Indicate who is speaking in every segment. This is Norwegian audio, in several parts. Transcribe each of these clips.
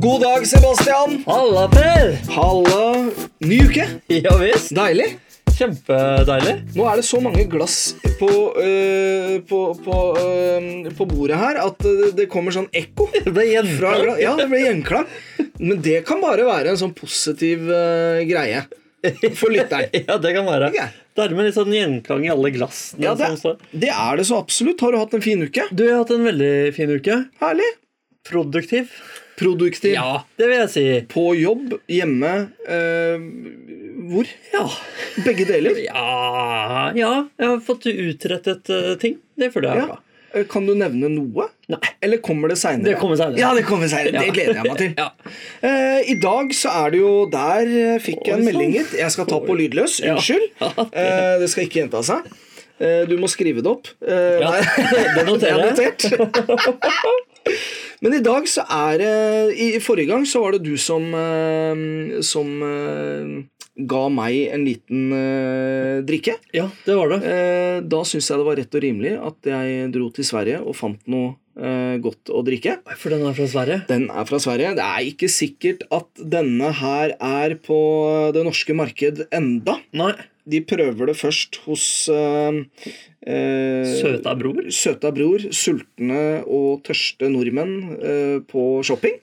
Speaker 1: God dag, Sebastian.
Speaker 2: Halla, Per!
Speaker 1: Halla. Ny uke.
Speaker 2: Ja visst.
Speaker 1: Deilig.
Speaker 2: Kjempedeilig.
Speaker 1: Nå er det så mange glass på, øh, på, på, øh, på bordet her at øh, det kommer sånn ekko.
Speaker 2: Det ble
Speaker 1: Fra,
Speaker 2: gjenklang.
Speaker 1: gla- ja, det ble gjenklang. Men det kan bare være en sånn positiv øh, greie for lytteren.
Speaker 2: Ja, det kan være.
Speaker 1: Ok.
Speaker 2: Dermed litt sånn gjenklang i alle glassene.
Speaker 1: Ja, det,
Speaker 2: som står.
Speaker 1: det er det så absolutt. Har du hatt en fin uke?
Speaker 2: Du jeg har hatt en veldig fin uke.
Speaker 1: Herlig.
Speaker 2: Produktiv.
Speaker 1: Produktiv.
Speaker 2: Det vil jeg si.
Speaker 1: På jobb, hjemme øh, Hvor?
Speaker 2: Ja.
Speaker 1: Begge deler.
Speaker 2: Ja, ja. Jeg har fått utrettet eh, ting. Det føler jeg er
Speaker 1: Ja.
Speaker 2: bra.
Speaker 1: Eh, Kan du nevne noe?
Speaker 2: Nei.
Speaker 1: Eller kommer det seinere?
Speaker 2: Det kommer senere.
Speaker 1: Ja, det kommer senere. Det gleder jeg meg til.
Speaker 2: Ja.
Speaker 1: Eh, I dag så er det jo Der eh, fikk jeg en
Speaker 2: Oi,
Speaker 1: melding
Speaker 2: sann.
Speaker 1: hit. Jeg skal ta på lydløs.
Speaker 2: Ja.
Speaker 1: Unnskyld.
Speaker 2: Ja, det-
Speaker 1: Eh, det skal ikke gjenta seg. Eh, du må skrive det opp. Eh,
Speaker 2: Ja,
Speaker 1: nei.
Speaker 2: det noterer jeg.
Speaker 1: Det er notert. Men i dag så er det I i forrige gang så var det du som eh, Som eh, ga meg en liten eh, drikke.
Speaker 2: Ja, det var det.
Speaker 1: Eh, Da syns jeg det var rett og rimelig at jeg dro til Sverige og fant noe eh, godt å drikke.
Speaker 2: For den er fra Sverige.
Speaker 1: Den er fra Sverige. Det er ikke sikkert at denne her er på det norske marked enda.
Speaker 2: Nei.
Speaker 1: De prøver det først hos eh, eh,
Speaker 2: Søta bror.
Speaker 1: søta bror, sultne og tørste nordmenn eh, på shopping.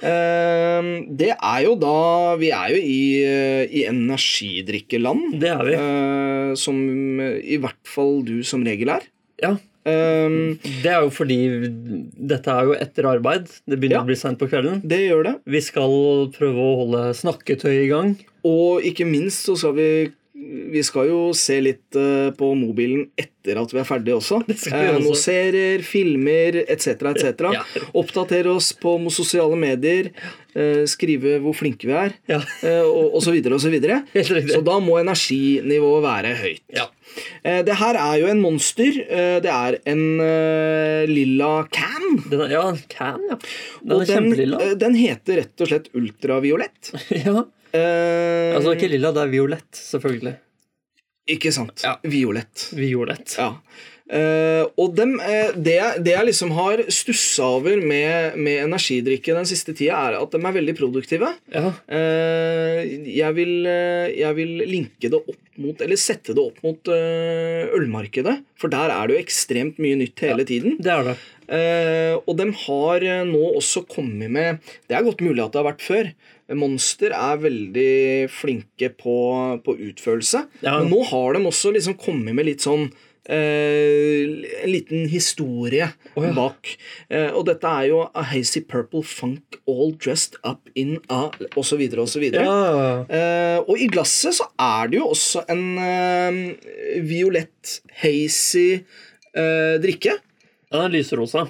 Speaker 1: Eh, det er jo da Vi er jo i, eh, i energidrikkeland.
Speaker 2: Det er vi.
Speaker 1: Eh, som eh, i hvert fall du som regel er.
Speaker 2: Ja.
Speaker 1: Eh,
Speaker 2: Det er jo fordi dette er jo etter arbeid. Det
Speaker 1: Ja.
Speaker 2: begynner å bli seint på kvelden.
Speaker 1: det gjør det.
Speaker 2: Vi skal prøve å holde snakketøy i gang.
Speaker 1: Og ikke minst så skal vi vi skal jo se litt eh, på mobilen etter at vi er ferdige også.
Speaker 2: Det skal vi
Speaker 1: Eh, Noen
Speaker 2: også.
Speaker 1: serier, filmer etc. etc.
Speaker 2: Ja.
Speaker 1: Oppdatere oss på sosiale medier. eh, Skrive hvor flinke vi er,
Speaker 2: Ja.
Speaker 1: eh, og osv. osv.
Speaker 2: Helt riktig.
Speaker 1: Så da må energinivået være høyt.
Speaker 2: Ja.
Speaker 1: Eh, Det her er jo en monster. Eh, Det er en eh, lilla can.
Speaker 2: Den er, ja, can, ja. Den
Speaker 1: Og
Speaker 2: er kjempelilla.
Speaker 1: eh, den heter rett og slett ultraviolett.
Speaker 2: ja.
Speaker 1: Eh,
Speaker 2: Altså ikke lilla, det er violett, selvfølgelig.
Speaker 1: Ikke sant.
Speaker 2: Ja.
Speaker 1: Violett.
Speaker 2: Violett.
Speaker 1: Ja. Eh, og dem, eh, det, jeg- det jeg liksom har stussa over med, med energidrikke den siste tida, er at de er veldig produktive.
Speaker 2: Ja.
Speaker 1: Eh, jeg, vil, eh, jeg vil linke det opp mot Eller sette det opp mot eh, ølmarkedet. For der er det jo ekstremt mye nytt hele tiden.
Speaker 2: Det er det.
Speaker 1: Eh, og de har eh, nå også kommet med Det er godt mulig at det har vært før. Monster er veldig flinke på, på utførelse.
Speaker 2: Ja.
Speaker 1: Men nå har de også liksom kommet med litt sånn eh, En liten historie
Speaker 2: Å ja.
Speaker 1: bak. Eh, og dette er jo A Hazy Purple Funk All Dressed Up In A osv. osv.
Speaker 2: Ja.
Speaker 1: Eh, og i glasset så er det jo også en eh, violett, hazy eh, drikke.
Speaker 2: Den er lyserosa.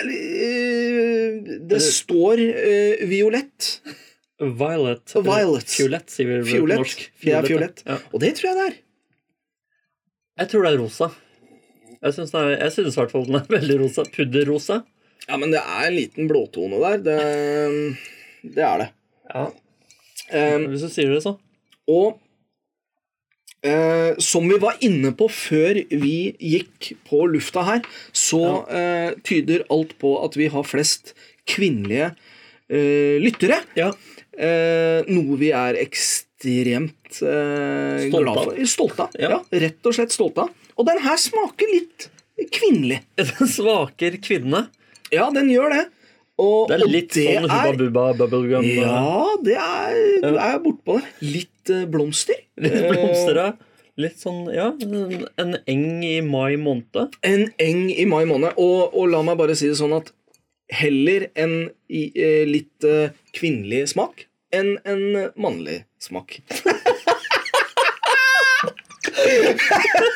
Speaker 1: Eller, eh, Det står eh, violett.
Speaker 2: Violet.
Speaker 1: Og violet.
Speaker 2: Fiolett, sier vi vel på
Speaker 1: Fiolett.
Speaker 2: norsk.
Speaker 1: Det er fiolett.
Speaker 2: Ja.
Speaker 1: Og det tror jeg det er.
Speaker 2: Jeg tror det er rosa. Jeg syns den er- jeg syns i hvert fall den er veldig rosa. Pudderrosa.
Speaker 1: Ja, men det er en liten blåtone der. Det, det er det.
Speaker 2: Ja.
Speaker 1: Eh,
Speaker 2: Hvis du sier det, så.
Speaker 1: og eh, som vi var inne på før vi gikk på lufta her, så eh, tyder alt på at vi har flest kvinnelige eh, lyttere.
Speaker 2: Ja.
Speaker 1: Eh, noe vi er ekstremt eh,
Speaker 2: Stolte
Speaker 1: glad for.
Speaker 2: av.
Speaker 1: Stolte av. Ja.
Speaker 2: Ja.
Speaker 1: rett og slett stolte av. Og den her smaker litt kvinnelig.
Speaker 2: Den svaker kvinne.
Speaker 1: Ja, den gjør det. Og
Speaker 2: Det er
Speaker 1: og
Speaker 2: litt sånn
Speaker 1: er-
Speaker 2: Hubba Bubba Bubblegum. eh,
Speaker 1: Ja, det er, du er bortpå det. Litt eh, blomster.
Speaker 2: Litt blomster, ja. Litt sånn, ja, en- en eng i mai måned.
Speaker 1: En eng i mai måned. Og, og la meg bare si det sånn at heller en i, eh, litt eh, kvinnelig smak enn en mannlig smak.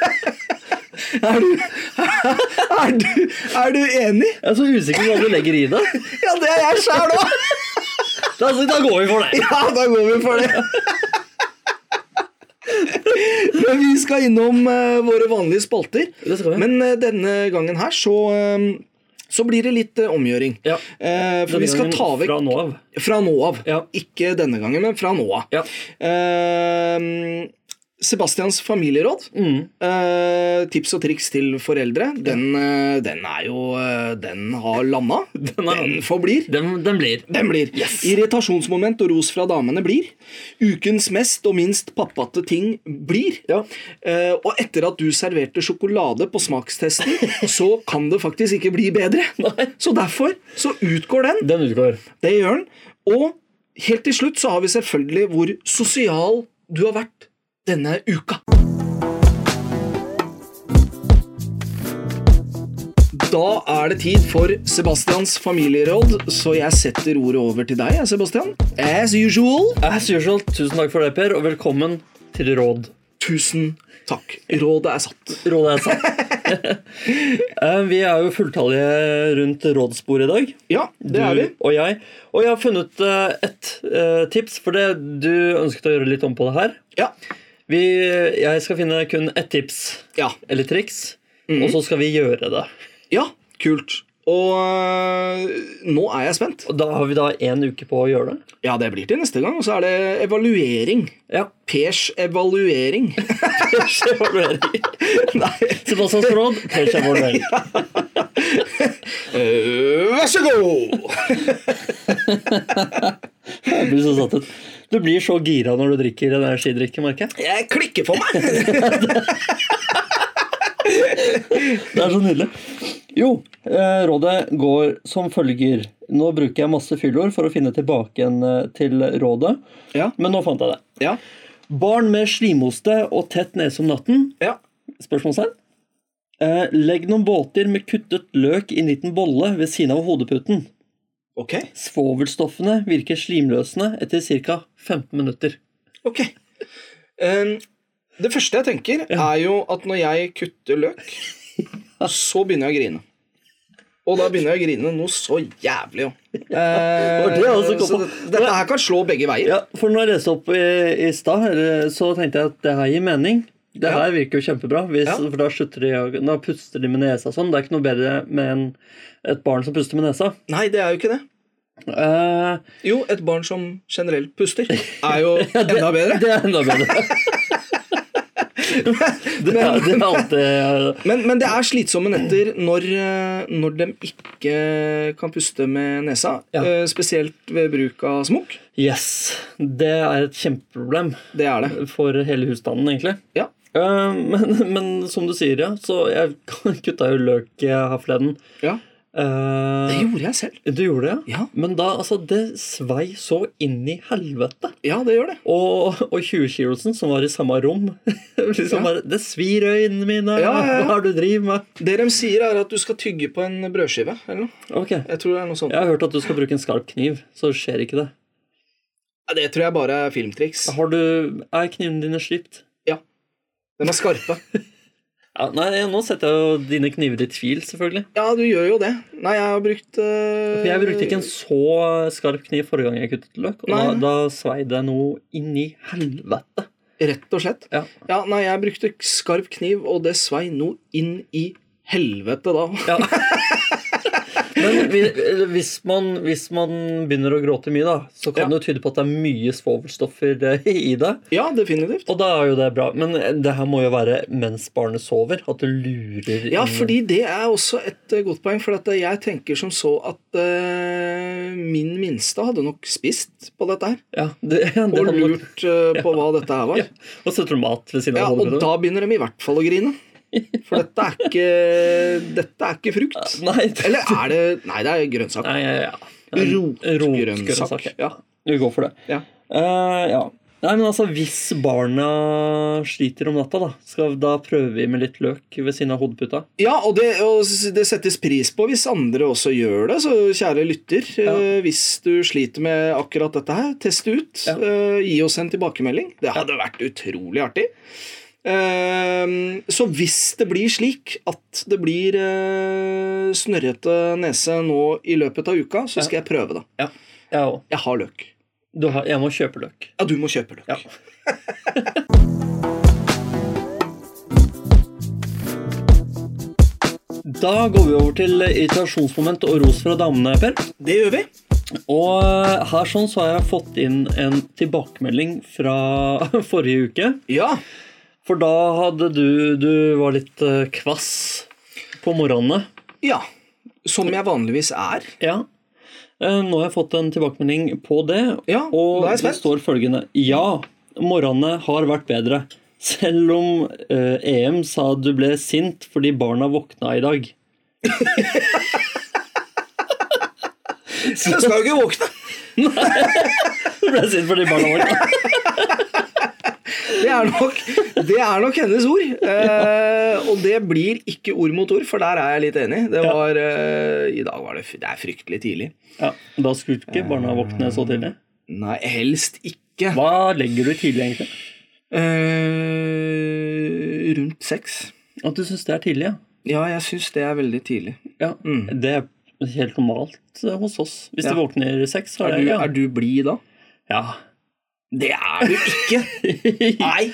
Speaker 1: er, du, er, du, er du enig?
Speaker 2: Jeg er så usikker på hva du legger i det.
Speaker 1: Ja, det er jeg sjæl òg!
Speaker 2: Da, altså, da går vi for det.
Speaker 1: Ja, da går vi for det. Men vi skal innom eh, våre vanlige spalter.
Speaker 2: Det skal vi.
Speaker 1: Men eh, denne gangen her så, eh, så blir det litt eh, omgjøring.
Speaker 2: Ja.
Speaker 1: Eh, for vi skal ta vekk
Speaker 2: Fra nå av.
Speaker 1: fra nå av.
Speaker 2: Ja.
Speaker 1: Ikke denne gangen, men fra nå av.
Speaker 2: Ja.
Speaker 1: Eh, Sebastians familieråd,
Speaker 2: Mm.
Speaker 1: eh, tips og triks til foreldre, den, eh, den er jo eh, Den har landa.
Speaker 2: Den har-
Speaker 1: Den forblir.
Speaker 2: Den, den blir.
Speaker 1: Den blir. Irritasjonsmoment og ros fra damene blir. Ukens mest og minst pappate ting blir.
Speaker 2: Ja.
Speaker 1: Eh, og etter at du serverte sjokolade på smakstesten, så kan det faktisk ikke bli bedre.
Speaker 2: Nei.
Speaker 1: Så derfor så utgår den.
Speaker 2: Den utgår.
Speaker 1: Det gjør den. Og helt til slutt så har vi selvfølgelig hvor sosial du har vært denne uka. Da er det tid for Sebastians familieråd, så jeg setter ordet over til deg, Sebastian. As usual.
Speaker 2: As usual, tusen takk for det, Per, og velkommen til råd.
Speaker 1: Tusen taktakk. Rådet er satt.
Speaker 2: Rådet er satt. Eh, vi er jo fulltallige rundt rådsbordet i dag.
Speaker 1: Ja, det er vi.
Speaker 2: Du Og jeg. Og jeg har funnet eh, et eh, tips, for det du ønsket å gjøre litt om på det her.
Speaker 1: Ja.
Speaker 2: Vi, jeg skal finne kun ett tips
Speaker 1: Ja.
Speaker 2: eller triks, og så skal vi gjøre det.
Speaker 1: ja. Kult. Og øh, nå er jeg spent.
Speaker 2: Og da har vi da én uke på å gjøre det.
Speaker 1: Ja, det blir til neste gang, og så er det evaluering.
Speaker 2: Ja.
Speaker 1: Pers evaluering.
Speaker 2: Evaluering.
Speaker 1: Nei.
Speaker 2: Sebastians råd pers evaluering.
Speaker 1: Eh, Vær så god!
Speaker 2: Jeg blir så satt ut. Du blir så gira når du drikker energidrikke, merker jeg.
Speaker 1: Jeg klikker for meg.
Speaker 2: Det er så nydelig. Jo, eh, rådet går som følger. Nå bruker jeg masse fyllord for å finne tilbake igjen eh, til rådet,
Speaker 1: Ja,
Speaker 2: men nå fant jeg det.
Speaker 1: ja,
Speaker 2: Barn med slimoste og tett nese om natten?
Speaker 1: ja.
Speaker 2: Spørsmålstegn? Eh, legg noen båter med kuttet løk i en liten bolle ved siden av hodeputen.
Speaker 1: Ok.
Speaker 2: Svovelstoffene virker slimløsende etter ca. 15 minutter.
Speaker 1: ok. Eh, det første jeg tenker, er jo at når jeg kutter løk, så begynner jeg å grine. Og da begynner jeg å grine noe så jævlig òg.
Speaker 2: var det jeg også kom
Speaker 1: så
Speaker 2: på.
Speaker 1: det- dette her kan slå begge veier.
Speaker 2: Ja, for når jeg leste opp i, i stad, eller, så tenkte jeg at det her gir mening. Det
Speaker 1: Ja.
Speaker 2: her virker jo kjempebra, hvis,
Speaker 1: Ja.
Speaker 2: for da, slutter de, å- da puster de med nesa og sånn. Det er ikke noe bedre med en, et barn som puster med nesa.
Speaker 1: Nei, det er jo ikke det.
Speaker 2: Eh,
Speaker 1: Jo, et barn som generelt puster, er jo enda bedre.
Speaker 2: det er enda bedre. det, er, det er alltid
Speaker 1: Men, men det er slitsomme netter når, eh, når de ikke kan puste med nesa.
Speaker 2: Ja.
Speaker 1: eh, Spesielt ved bruk av smokk.
Speaker 2: Yes. Det er et kjempeproblem
Speaker 1: Det er det.
Speaker 2: for hele husstanden, egentlig.
Speaker 1: Ja.
Speaker 2: Eh, men, men som du sier, ja, så jeg kutta jo løk eh, her forleden.
Speaker 1: ja.
Speaker 2: Eh,
Speaker 1: Det gjorde jeg selv.
Speaker 2: Du gjorde det,
Speaker 1: Ja.
Speaker 2: Men da, altså, det svei så inn i helvete.
Speaker 1: Ja, det gjør det.
Speaker 2: Og, og 20-kilosen som var i samme rom liksom
Speaker 1: Ja.
Speaker 2: bare, Det svir i øynene mine!
Speaker 1: Ja, ja, ja.
Speaker 2: Hva er det du driver med?
Speaker 1: Det de sier, er at du skal tygge på en brødskive. eller noe.
Speaker 2: Ok, Jeg
Speaker 1: Jeg tror Det er noe sånt.
Speaker 2: har hørt at du skal bruke en skarp kniv, så skjer ikke det.
Speaker 1: Ja, Det tror jeg bare er filmtriks.
Speaker 2: Har du, Er knivene dine slipt?
Speaker 1: Ja. De er skarpe.
Speaker 2: Ja, nei, nå setter jeg jo dine kniver i tvil, selvfølgelig.
Speaker 1: Ja, du gjør jo det. Nei, jeg har brukt eh,
Speaker 2: For Jeg brukte ikke en så skarp kniv forrige gang jeg kuttet løk, og da,
Speaker 1: Nei.
Speaker 2: da svei det noe inn i helvete.
Speaker 1: Rett og slett.
Speaker 2: Ja.
Speaker 1: Ja, Nei, jeg brukte skarp kniv, og det svei noe inn i helvete da.
Speaker 2: Ja. Men vi- eller hvis man, hvis man begynner å gråte mye, da, så
Speaker 1: Ja.
Speaker 2: kan det jo tyde på at det er mye svovelstoffer eh, i det.
Speaker 1: Ja, definitivt.
Speaker 2: Og da er jo det bra. Men eh, det her må jo være mens barnet sover. At det lurer
Speaker 1: Ja,
Speaker 2: inn-
Speaker 1: fordi det er også et eh, godt poeng. For at eh, jeg tenker som så at eh, min minste hadde nok spist på dette her.
Speaker 2: ja, det, ja, det
Speaker 1: Og
Speaker 2: kan man-
Speaker 1: lurt eh, på hva dette her var.
Speaker 2: Og setter du mat ved siden
Speaker 1: Ja,
Speaker 2: av
Speaker 1: og
Speaker 2: hodet?
Speaker 1: da begynner de i hvert fall å grine. For dette er ikke, dette er ikke frukt.
Speaker 2: Nei, det-
Speaker 1: Eller er det Nei, det er grønnsak.
Speaker 2: nei, ja, ja.
Speaker 1: Rotgrønnsak. Ja.
Speaker 2: Vi går for det.
Speaker 1: Ja.
Speaker 2: Eh, ja. Nei, men altså, Hvis barna sliter om natta, da, skal, da prøver vi med litt løk ved siden av hodeputa.
Speaker 1: ja, og det, og s- det settes pris på hvis andre også gjør det. Så kjære lytter, eh, hvis du sliter med akkurat dette her, test det ut.
Speaker 2: Ja.
Speaker 1: Eh, Gi oss en tilbakemelding. Det hadde vært utrolig artig. Eh, Så hvis det blir slik at det blir eh, snørrete nese nå i løpet av uka, så skal jeg prøve det.
Speaker 2: Ja, jeg òg.
Speaker 1: Jeg har løk.
Speaker 2: Du har, jeg må kjøpe løk.
Speaker 1: Ja, du må kjøpe løk.
Speaker 2: Ja. Da går vi over til irritasjonsmoment og ros fra damene, Per.
Speaker 1: Det gjør vi.
Speaker 2: Og eh, her sånn så har jeg fått inn en tilbakemelding fra forrige uke.
Speaker 1: Ja.
Speaker 2: For da hadde du Du var litt eh, kvass på morgenene.
Speaker 1: Ja. Som jeg vanligvis er.
Speaker 2: Ja. Eh, Nå har jeg fått en tilbakemelding på det,
Speaker 1: Ja,
Speaker 2: og
Speaker 1: da er jeg
Speaker 2: det
Speaker 1: spent.
Speaker 2: står følgende Ja, morgenene har vært bedre. Selv om eh, EM sa du ble sint fordi barna våkna i dag.
Speaker 1: Så jeg skal jo ikke våkne.
Speaker 2: Du ble sint fordi barna våkna.
Speaker 1: Det er nok, det er nok hennes ord. Eh, og det blir ikke ord mot ord, for der er jeg litt enig. Det var, eh, I dag var det, f- det er fryktelig tidlig.
Speaker 2: Ja, Da skulle ikke barna våkne så tidlig.
Speaker 1: Nei, helst ikke.
Speaker 2: Hva legger du i tidlig, egentlig?
Speaker 1: Eh, rundt seks.
Speaker 2: At du syns det er tidlig, ja.
Speaker 1: Ja, jeg syns det er veldig tidlig.
Speaker 2: ja. Det er helt normalt eh, hos oss. Hvis
Speaker 1: Mm. Ja.
Speaker 2: du våkner i seks, så
Speaker 1: Er
Speaker 2: er
Speaker 1: du,
Speaker 2: det ja.
Speaker 1: er du blid da?
Speaker 2: ja.
Speaker 1: Det er du ikke! Nei.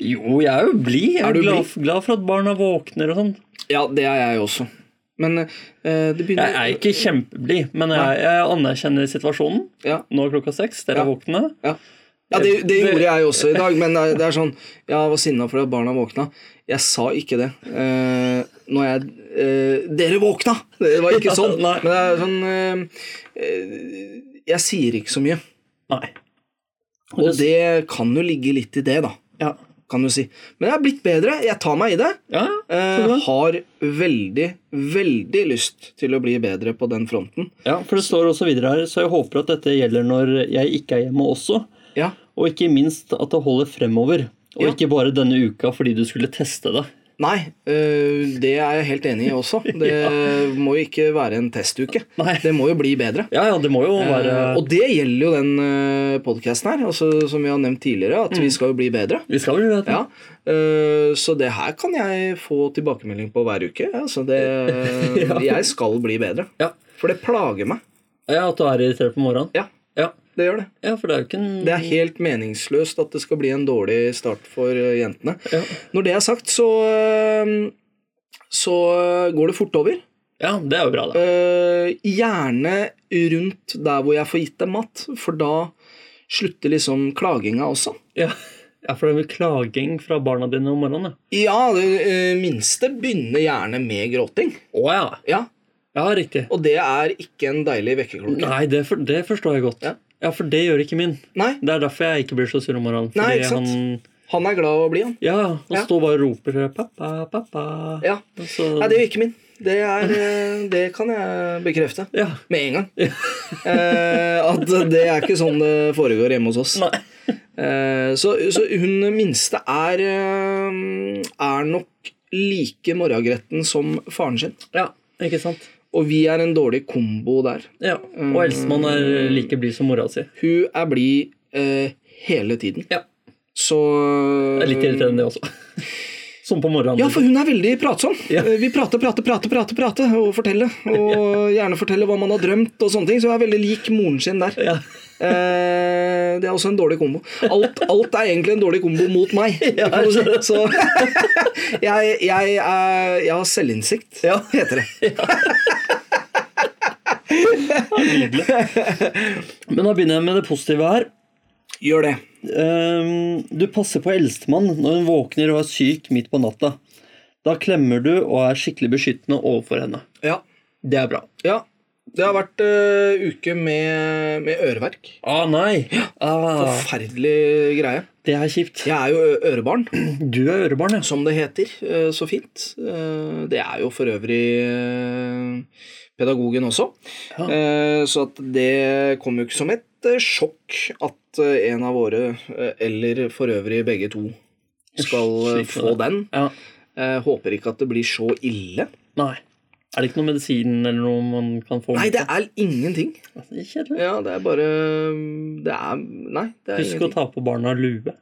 Speaker 2: Jo, jeg er jo blid. Jeg
Speaker 1: Er
Speaker 2: er,
Speaker 1: du
Speaker 2: glad, glad for at barna våkner og sånn.
Speaker 1: Ja, det er jeg også. Men eh, det begynner
Speaker 2: Jeg er ikke kjempeblid, men jeg, jeg anerkjenner situasjonen.
Speaker 1: Ja,
Speaker 2: Nå er klokka seks, dere er
Speaker 1: Ja.
Speaker 2: våkne.
Speaker 1: ja. ja det, det gjorde jeg også i dag, men det er- det er sånn Jeg var sinna fordi at barna våkna. Jeg sa ikke det. Eh, når jeg eh, Dere våkna! Det var ikke sånn.
Speaker 2: Nei.
Speaker 1: Men det er sånn eh, eh, Jeg sier ikke så mye.
Speaker 2: Nei.
Speaker 1: Og det kan jo ligge litt i det, da.
Speaker 2: Ja.
Speaker 1: Kan du si. Men jeg er blitt bedre. Jeg tar meg i det.
Speaker 2: ja.
Speaker 1: Eh,
Speaker 2: Så bra.
Speaker 1: har veldig, veldig lyst til å bli bedre på den fronten.
Speaker 2: ja, for det står også videre her, så jeg håper at dette gjelder når jeg ikke er hjemme også.
Speaker 1: Ja,
Speaker 2: Og ikke minst at det holder fremover. Og
Speaker 1: Ja.
Speaker 2: ikke bare denne uka fordi du skulle teste det.
Speaker 1: Nei, øh, det er jeg helt enig i også. Det må jo ikke være en testuke.
Speaker 2: Nei.
Speaker 1: Det må jo bli bedre.
Speaker 2: Ja, ja, det må jo være
Speaker 1: Eh, og det gjelder jo den øh, podcasten her, altså, som vi har nevnt tidligere, at
Speaker 2: Mm.
Speaker 1: vi skal jo bli bedre.
Speaker 2: Vi skal vel vite
Speaker 1: Ja, øh, Så det her kan jeg få tilbakemelding på hver uke. Altså det, Jeg skal bli bedre.
Speaker 2: Ja.
Speaker 1: For det plager meg.
Speaker 2: ja, at du er irritert på morgenen?
Speaker 1: Ja,
Speaker 2: Ja.
Speaker 1: det gjør det.
Speaker 2: ja, for det er jo ikke en
Speaker 1: Det er helt meningsløst at det skal bli en dårlig start for øh, jentene.
Speaker 2: Ja.
Speaker 1: Når det er sagt, så, øh, så øh, går det fort over.
Speaker 2: ja, det er jo bra, da.
Speaker 1: Eh, gjerne rundt der hvor jeg får gitt dem mat, for da slutter liksom klaginga også.
Speaker 2: Ja, ja for det er jo klaging fra barna dine om morgenen, ja.
Speaker 1: Ja, det eh, minste begynner gjerne med gråting.
Speaker 2: Å ja.
Speaker 1: Ja,
Speaker 2: Ja, riktig.
Speaker 1: Og det er ikke en deilig vekkerklokke.
Speaker 2: Nei, det, for, det forstår jeg godt.
Speaker 1: Ja.
Speaker 2: Ja. for det gjør ikke min.
Speaker 1: Nei,
Speaker 2: Det er derfor jeg ikke blir så sur om morgenen. Fordi
Speaker 1: Nei, ikke sant?
Speaker 2: han
Speaker 1: han er glad å bli, han.
Speaker 2: Ja, han
Speaker 1: Ja.
Speaker 2: står bare og roper 'pappa, pappa'.
Speaker 1: Ja.
Speaker 2: Og Så,
Speaker 1: Nei, det er jo ikke min. Det, er, eh, det kan jeg bekrefte.
Speaker 2: ja.
Speaker 1: Med en gang. Eh, at det er ikke sånn det foregår hjemme hos oss.
Speaker 2: Nei.
Speaker 1: Eh, Så, så hun minste er, eh, er nok like morgengretten som faren sin.
Speaker 2: ja, ikke sant?
Speaker 1: Og vi er en dårlig kombo der.
Speaker 2: Ja. Og Elsemann er like blid som mora si.
Speaker 1: Hun er blid eh, hele tiden.
Speaker 2: Ja.
Speaker 1: Så
Speaker 2: Det er litt irriterende, det også. Som på morgenen.
Speaker 1: Ja, for hun er veldig pratsom.
Speaker 2: Ja.
Speaker 1: Eh, Vi prater, prater, prater, prater, prater og fortelle. Og gjerne fortelle hva man har drømt og sånne ting. Så hun er veldig lik moren sin der.
Speaker 2: Ja.
Speaker 1: Eh, det er også en dårlig kombo. Alt, alt er egentlig en dårlig kombo mot meg. kan du si. Så jeg, jeg, er, jeg har selvinnsikt,
Speaker 2: Ja.
Speaker 1: heter det.
Speaker 2: Men da begynner jeg med det positive her.
Speaker 1: Gjør det.
Speaker 2: Ehm, du passer på eldstemann når hun våkner og er syk midt på natta. Da klemmer du og er skikkelig beskyttende overfor henne.
Speaker 1: Ja.
Speaker 2: Det er bra.
Speaker 1: ja. Det har vært eh, uke med, med øreverk.
Speaker 2: Å nei! Ah,
Speaker 1: Forferdelig greie.
Speaker 2: det er kjipt.
Speaker 1: Jeg er jo ø- ørebarn,
Speaker 2: Du er ørebarn, ja.
Speaker 1: som det heter eh, så fint. Eh, Det er jo for øvrig eh, pedagogen også.
Speaker 2: Ja.
Speaker 1: Eh, Så at det kom jo ikke som et eh, sjokk at eh, en av våre, eh, eller for øvrig begge to, skal eh,
Speaker 2: Sliter
Speaker 1: få
Speaker 2: med
Speaker 1: den.
Speaker 2: ja.
Speaker 1: Eh, Håper ikke at det blir så ille.
Speaker 2: Nei. Er det ikke noe medisin eller noe man kan få? Altså,
Speaker 1: Nei, det er ingenting.
Speaker 2: Det er Kjedelig.
Speaker 1: Ja, det er bare eh, Det er Nei, det er
Speaker 2: Husk å
Speaker 1: ingenting.
Speaker 2: ta på barna lue.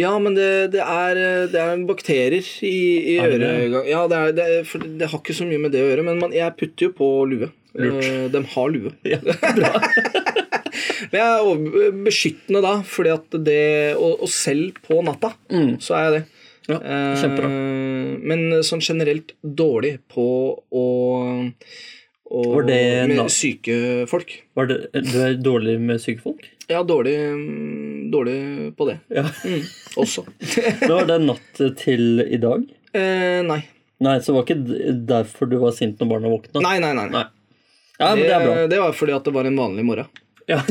Speaker 1: Ja, men det, det, er, eh, det er bakterier i, i
Speaker 2: Er det det?
Speaker 1: øregang... Ja, det, er, det, er, for det har ikke så mye med det å gjøre, men man, jeg putter jo på lue.
Speaker 2: Lurt.
Speaker 1: Eh, De har lue.
Speaker 2: Ja, bra.
Speaker 1: Men jeg er over- beskyttende da, fordi at det Og, og selv på natta,
Speaker 2: Mm.
Speaker 1: så er jeg det.
Speaker 2: Ja,
Speaker 1: Eh,
Speaker 2: kjempebra.
Speaker 1: Men sånn generelt dårlig på å, å
Speaker 2: Var det en
Speaker 1: Med
Speaker 2: da-
Speaker 1: syke folk.
Speaker 2: Var det, du er dårlig med syke folk?
Speaker 1: Ja, dårlig, dårlig på det
Speaker 2: Ja.
Speaker 1: mm, også.
Speaker 2: Men var det natt til i dag?
Speaker 1: Eh, nei.
Speaker 2: Nei, så det var ikke d- derfor du var sint når barna våkna?
Speaker 1: Nei, nei, nei. nei.
Speaker 2: Nei. Ja, men det er bra.
Speaker 1: Det, det var fordi at det var en vanlig morgen.
Speaker 2: Ja.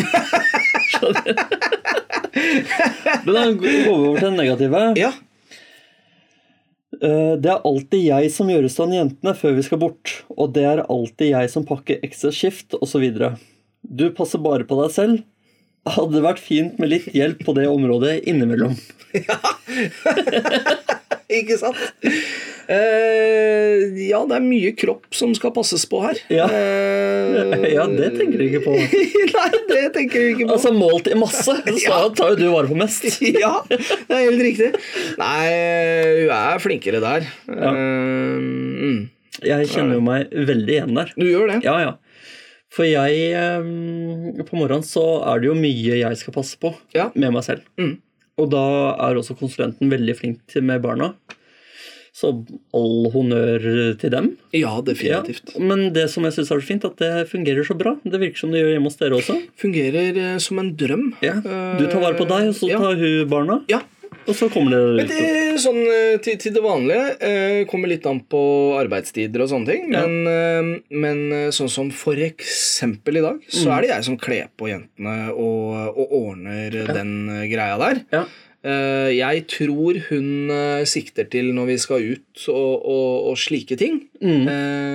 Speaker 2: Skjønner. Men da går vi over til det negative.
Speaker 1: Ja.
Speaker 2: Eh, Det er alltid jeg som gjør i stand jentene før vi skal bort, og det er alltid jeg som pakker ekstra skift, osv. Du passer bare på deg selv. Hadde vært fint med litt hjelp på det området innimellom.
Speaker 1: Ikke sant? Eh, ja, det er mye kropp som skal passes på her.
Speaker 2: Ja.
Speaker 1: Eh,
Speaker 2: Ja, det tenker du ikke på.
Speaker 1: Nei, det tenker vi ikke på.
Speaker 2: Altså målt i masse, så tar jo du vare på mest.
Speaker 1: Ja, det er helt riktig. Nei, hun er flinkere der. Eh, mm.
Speaker 2: Jeg kjenner jo meg veldig igjen der.
Speaker 1: Du gjør det?
Speaker 2: Ja, ja. For jeg eh, På morgenen så er det jo mye jeg skal passe på
Speaker 1: Ja.
Speaker 2: med meg selv.
Speaker 1: Mm.
Speaker 2: Og da er også konsulenten veldig flink til- med barna. Så all honnør til dem.
Speaker 1: Ja, definitivt.
Speaker 2: Ja, Men det som jeg syns er så fint, at det fungerer så bra. Det virker som det gjør hjemme hos dere også.
Speaker 1: Fungerer eh, som en drøm.
Speaker 2: Ja. Du tar vare på deg, og så
Speaker 1: Ja.
Speaker 2: tar hun barna.
Speaker 1: Ja.
Speaker 2: Og så kommer dere ut.
Speaker 1: Det er sånn eh, til, til det vanlige. eh, Kommer litt an på arbeidstider og sånne ting.
Speaker 2: Ja.
Speaker 1: Men, eh, men eh, sånn som for eksempel i dag,
Speaker 2: Mm.
Speaker 1: så er det jeg som kler på jentene og, og ordner eh, den eh, greia der.
Speaker 2: Ja.
Speaker 1: Eh, Jeg tror hun eh, sikter til når vi skal ut og, og, og slike ting.
Speaker 2: Mm.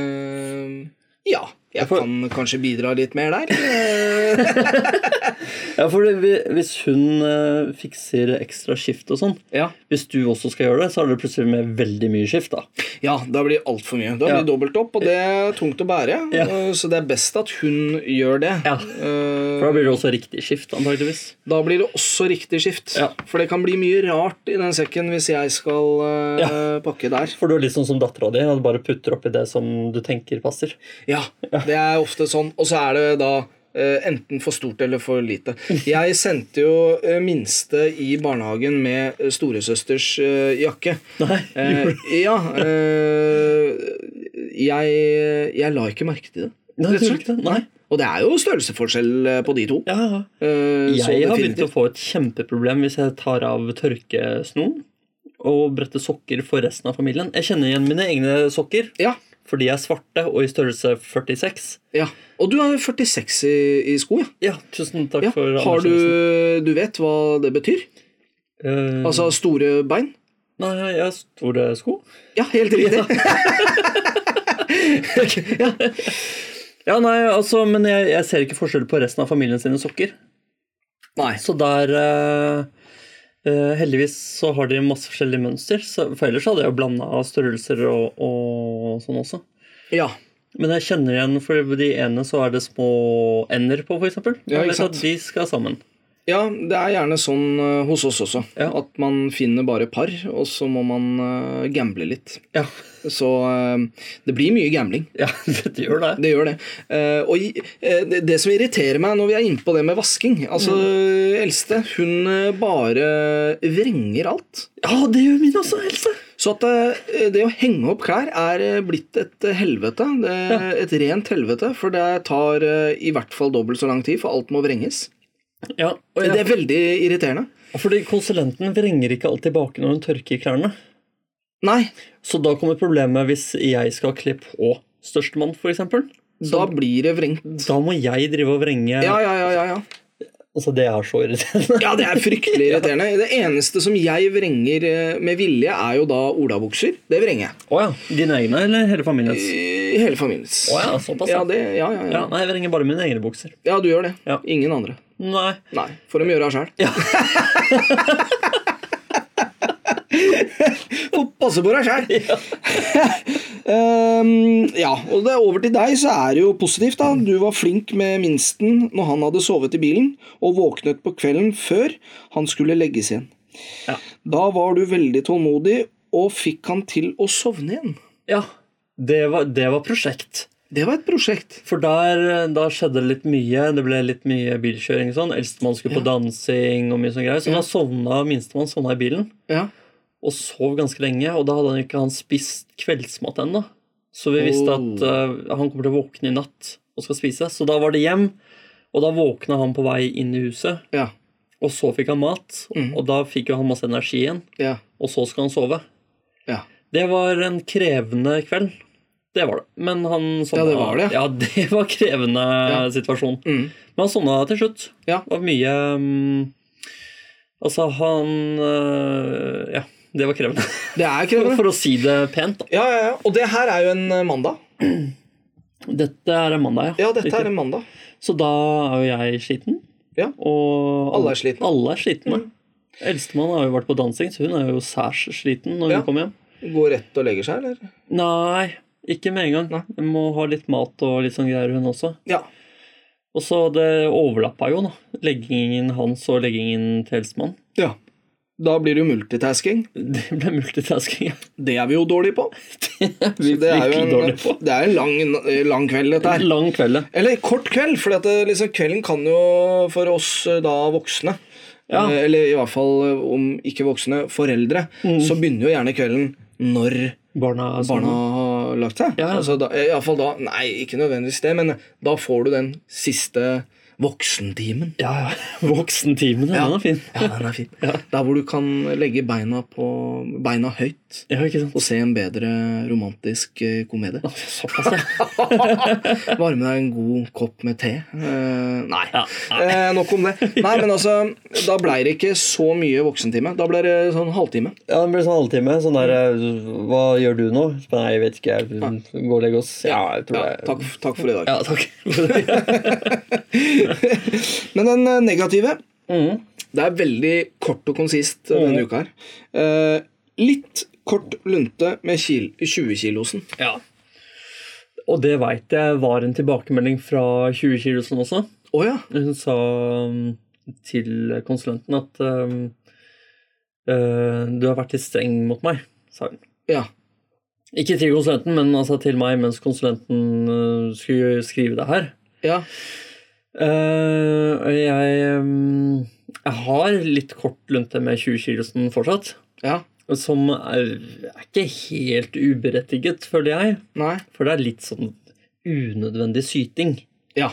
Speaker 1: Eh, Ja. Jeg
Speaker 2: for-
Speaker 1: kan kanskje bidra litt mer der. Eh,
Speaker 2: Ja, for det- vi- hvis hun eh, fikser ekstra skift og sånn,
Speaker 1: Ja.
Speaker 2: hvis du også skal gjøre det, så er det plutselig med veldig mye skift, da.
Speaker 1: Ja, da blir det altfor mye. Da blir
Speaker 2: Ja.
Speaker 1: det dobbelt opp, og det er tungt å bære.
Speaker 2: Ja.
Speaker 1: eh, Så det er best at hun gjør det.
Speaker 2: Ja.
Speaker 1: Eh,
Speaker 2: For da blir det også riktig skift, antakeligvis.
Speaker 1: Da blir det også riktig skift.
Speaker 2: Ja.
Speaker 1: For det kan bli mye rart i den sekken hvis jeg skal eh, pakke der.
Speaker 2: For du er litt sånn som dattera di, og bare putter oppi det som du tenker passer.
Speaker 1: Ja, det er ofte sånn. Og så er det da eh, enten for stort eller for lite. Jeg sendte jo eh, minste i barnehagen med eh, storesøsters eh, jakke.
Speaker 2: Nei,
Speaker 1: Eh, ja. eh, jeg, jeg la ikke merke til det.
Speaker 2: Nei,
Speaker 1: rett og
Speaker 2: du
Speaker 1: slett.
Speaker 2: gjorde ikke det? Nei.
Speaker 1: Og det er jo størrelsesforskjell eh, på de to.
Speaker 2: Ja, ja.
Speaker 1: Eh, så
Speaker 2: Jeg har begynt å
Speaker 1: definitivt.
Speaker 2: få et kjempeproblem hvis jeg tar av tørkesnoen og bretter sokker for resten av familien. Jeg kjenner igjen mine egne sokker,
Speaker 1: Ja,
Speaker 2: for de er svarte og i størrelse 46.
Speaker 1: ja. Og du er 46 i, i sko, ja.
Speaker 2: Ja, tusen takk
Speaker 1: ja.
Speaker 2: for
Speaker 1: Har du Du vet hva det betyr?
Speaker 2: Eh,
Speaker 1: Altså store bein?
Speaker 2: Nei, jeg har store sko.
Speaker 1: Ja, helt riktig. ja.
Speaker 2: Ja, nei, altså, men jeg, jeg ser ikke forskjell på resten av familien sine sokker.
Speaker 1: Nei.
Speaker 2: Så der eh, eh, Heldigvis så har de masse forskjellige mønster, så, for ellers hadde jeg jo blanda størrelser og, og sånn også.
Speaker 1: Ja.
Speaker 2: Men jeg kjenner igjen for de ene så er det små ender på, f.eks.
Speaker 1: Ja, ikke
Speaker 2: Jeg vet
Speaker 1: sant.
Speaker 2: at de skal sammen.
Speaker 1: ja, det er gjerne sånn eh, hos oss også.
Speaker 2: Ja.
Speaker 1: At man finner bare par, og så må man eh, gamble litt.
Speaker 2: Ja,
Speaker 1: Så eh, det blir mye gambling.
Speaker 2: ja det gjør det.
Speaker 1: Det gjør det. Eh, og i- eh, det- det som irriterer meg når vi er inne på det med vasking Altså, eldste, hun eh, bare vrenger alt.
Speaker 2: Ja, det gjør min også, Else.
Speaker 1: Så at eh, det å henge opp klær er eh, blitt et eh, helvete. Det, er Et rent helvete. For det tar eh, i hvert fall dobbelt så lang tid, for alt må vrenges.
Speaker 2: Ja, og
Speaker 1: Det
Speaker 2: jeg,
Speaker 1: er veldig irriterende.
Speaker 2: Fordi konsulenten vrenger ikke alltid tilbake når hun tørker klærne.
Speaker 1: Nei,
Speaker 2: Så da kommer problemet hvis jeg skal kle på størstemann, f.eks.
Speaker 1: da blir det vrengt.
Speaker 2: Da må jeg drive og vrenge.
Speaker 1: Ja, ja, ja, ja, ja.
Speaker 2: Altså, det er så irriterende.
Speaker 1: Ja, det er fryktelig irriterende. Det eneste som jeg vrenger eh, med vilje, er jo da olabukser. Det vrenger jeg.
Speaker 2: Å ja. Dine egne eller hele familiens?
Speaker 1: I hele familiens.
Speaker 2: Å ja, såpass.
Speaker 1: Ja,
Speaker 2: Ja,
Speaker 1: det, ja, ja, ja.
Speaker 2: ja, nei, jeg vrenger bare mine egne bukser.
Speaker 1: ja, du gjør det.
Speaker 2: Ja.
Speaker 1: Ingen andre.
Speaker 2: Nei.
Speaker 1: Nei, får de gjøre det sjøl.
Speaker 2: Ja.
Speaker 1: Får passe på deg sjæl. Ehm, ja, og det er over til deg, så er det jo positivt. da. Du var flink med minsten når han hadde sovet i bilen og våknet på kvelden før han skulle legges igjen.
Speaker 2: Ja.
Speaker 1: Da var du veldig tålmodig og fikk han til å sovne igjen.
Speaker 2: ja. Det var, det var prosjekt.
Speaker 1: Det var et prosjekt.
Speaker 2: For der, da skjedde det litt mye. Det ble litt mye bilkjøring og sånn. Eldstemann skulle på dansing og mye sånn greier. Så da sovna minstemann sovna i bilen.
Speaker 1: Ja.
Speaker 2: Og sov ganske lenge. Og da hadde han ikke han spist kveldsmat ennå. Så vi visste at eh, han kommer til å våkne i natt og skal spise. Så da var det hjem. Og da våkna han på vei inn i huset.
Speaker 1: ja.
Speaker 2: Og så fikk han mat, og da fikk jo han masse energi igjen.
Speaker 1: Ja.
Speaker 2: Og så skal han sove.
Speaker 1: ja.
Speaker 2: Det var en krevende kveld. Det var det. Men han sovna
Speaker 1: Ja, det var det.
Speaker 2: Ja, det var krevende situasjon.
Speaker 1: Mm.
Speaker 2: Men han sovna til slutt.
Speaker 1: Ja.
Speaker 2: Det var mye mm, Altså, han øh, Ja, det var krevende.
Speaker 1: Det er
Speaker 2: For,
Speaker 1: krevende.
Speaker 2: for å si det pent, da.
Speaker 1: Ja, ja, ja. Og det her er jo en eh, mandag.
Speaker 2: Dette er en mandag,
Speaker 1: Ja, dette
Speaker 2: Riktig.
Speaker 1: er en mandag.
Speaker 2: Så da er jo jeg sliten.
Speaker 1: Ja.
Speaker 2: Og
Speaker 1: Alle er slitne. Mm.
Speaker 2: Alle er slitne. Eldstemann har jo vært på dansing, så hun er jo særs sliten når
Speaker 1: Ja.
Speaker 2: hun kommer hjem.
Speaker 1: Går rett og legger seg, eller?
Speaker 2: Nei, ikke med en gang.
Speaker 1: Nei.
Speaker 2: Hun Må ha litt mat og litt sånn greier, hun også.
Speaker 1: Ja.
Speaker 2: Og så det overlappa jo, da. Leggingen hans og leggingen til Eldstemann.
Speaker 1: ja. Da blir det jo multitasking.
Speaker 2: Det ble multitasking.
Speaker 1: Det er vi jo dårlige på.
Speaker 2: Vi
Speaker 1: Det er jo en,
Speaker 2: dårlig på.
Speaker 1: det er en lang, eh, lang kveld, dette her.
Speaker 2: Lang kveld, ja.
Speaker 1: Eller kort kveld, for liksom, kvelden kan jo for oss eh, da voksne
Speaker 2: Ja.
Speaker 1: eh, Eller i hvert fall eh, om ikke voksne foreldre, så begynner jo gjerne kvelden når
Speaker 2: Barna, er
Speaker 1: barna
Speaker 2: sånn.
Speaker 1: har lagt seg.
Speaker 2: Ja.
Speaker 1: Altså, da, i hvert fall da Nei, ikke nødvendigvis det, men da får du den siste voksentimen.
Speaker 2: Ja, ja. Voksentimen, ja. den er fin.
Speaker 1: Ja, den er fin. Der hvor du kan legge beina, på, beina høyt
Speaker 2: Ja, ikke sant.
Speaker 1: og se en bedre romantisk eh, komedie.
Speaker 2: Såpass, ja.
Speaker 1: Varme deg en god kopp med te. Eh, nei.
Speaker 2: Ja,
Speaker 1: Eh, nok om det. Nei, men altså, Da blei det ikke så mye voksentime. Da ble det sånn halvtime.
Speaker 2: Ja, det blir sånn halvtime. Sånn der Hva gjør du nå? Nei, jeg vet ikke. Jeg går og legger oss. Ja, jeg tror
Speaker 1: Ja,
Speaker 2: jeg
Speaker 1: takk, takk for i dag.
Speaker 2: Ja, takk.
Speaker 1: Men den eh, negative
Speaker 2: Mhm.
Speaker 1: Det er veldig kort og konsist eh, denne uka her. Eh, litt kort lunte med kil 20-kilosen.
Speaker 2: ja. Og det veit jeg var en tilbakemelding fra 20-kilosen også.
Speaker 1: Å ja.
Speaker 2: Hun sa um, til konsulenten at um, eh, du har vært litt streng mot meg, sa hun.
Speaker 1: ja.
Speaker 2: Ikke til konsulenten, men altså til meg mens konsulenten eh, skulle skrive det her.
Speaker 1: Ja.
Speaker 2: Eh, og jeg, mm, jeg har litt kort lunte med 20-kilosen fortsatt.
Speaker 1: Ja.
Speaker 2: Som er, er ikke helt uberettiget, føler jeg.
Speaker 1: Nei.
Speaker 2: For det er litt sånn unødvendig syting.
Speaker 1: Ja.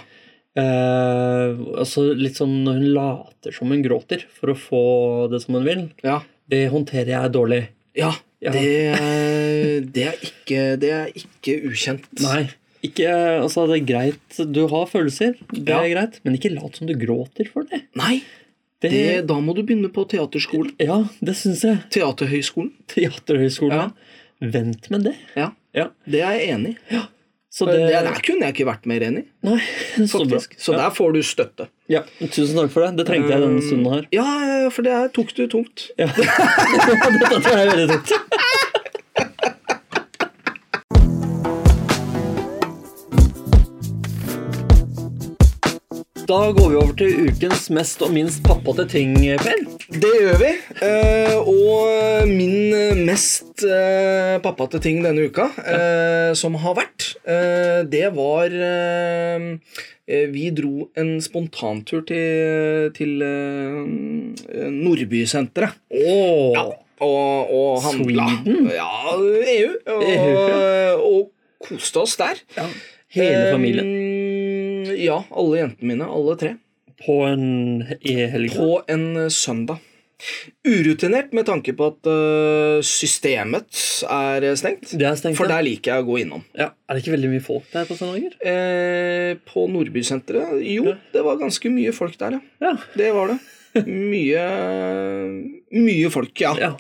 Speaker 2: Eh, altså litt sånn når hun later som hun gråter for å få det som hun vil.
Speaker 1: Ja.
Speaker 2: Det håndterer jeg dårlig.
Speaker 1: ja.
Speaker 2: Ja.
Speaker 1: Det, er- det, er ikke, det er ikke ukjent.
Speaker 2: Nei. Ikke, altså Det er greit, du har følelser, det er
Speaker 1: Ja.
Speaker 2: greit, men ikke lat som du gråter for det.
Speaker 1: Nei.
Speaker 2: Det,
Speaker 1: Det, da må du begynne på teaterskolen.
Speaker 2: Ja, det syns jeg.
Speaker 1: Teaterhøgskolen.
Speaker 2: Teaterhøgskolen. Vent med det.
Speaker 1: Ja.
Speaker 2: Ja.
Speaker 1: Det er jeg enig
Speaker 2: Eh.
Speaker 1: i.
Speaker 2: Så
Speaker 1: Det,
Speaker 2: det,
Speaker 1: der kunne jeg ikke vært mer enig i.
Speaker 2: Nei, så bra.
Speaker 1: faktisk. Så der får du støtte.
Speaker 2: Ja, tusen takk for det. Det trengte jeg denne stunden her.
Speaker 1: Ja, for det her tok du tungt.
Speaker 2: Ja. Dette tror jeg er veldig tungt. Da går vi over til ukens mest og minst pappate ting, Per.
Speaker 1: Det gjør vi. Eh, og min mest eh, pappate ting denne uka, eh, som har vært, eh, det var eh, eh, Vi dro en spontantur til, til eh, Nordbysenteret.
Speaker 2: Åh,
Speaker 1: og, og handla.
Speaker 2: Sweden? E
Speaker 1: Ja, EU. Og, eh,
Speaker 2: EU,
Speaker 1: og koste oss der.
Speaker 2: Hele familien
Speaker 1: Eh, ja, alle jentene mine. Alle tre.
Speaker 2: på en e-helg.
Speaker 1: På en eh, søndag. Urutinert med tanke på at eh, systemet er eh, stengt.
Speaker 2: Det er stengt.
Speaker 1: For
Speaker 2: ja.
Speaker 1: der liker jeg å gå innom.
Speaker 2: Ja. Er det ikke veldig mye folk der på søndager?
Speaker 1: Eh, på Nordbysenteret Jo, det var ganske mye folk der, ja.
Speaker 2: Ja.
Speaker 1: Det var det. Mye Mye folk, ja.
Speaker 2: ja.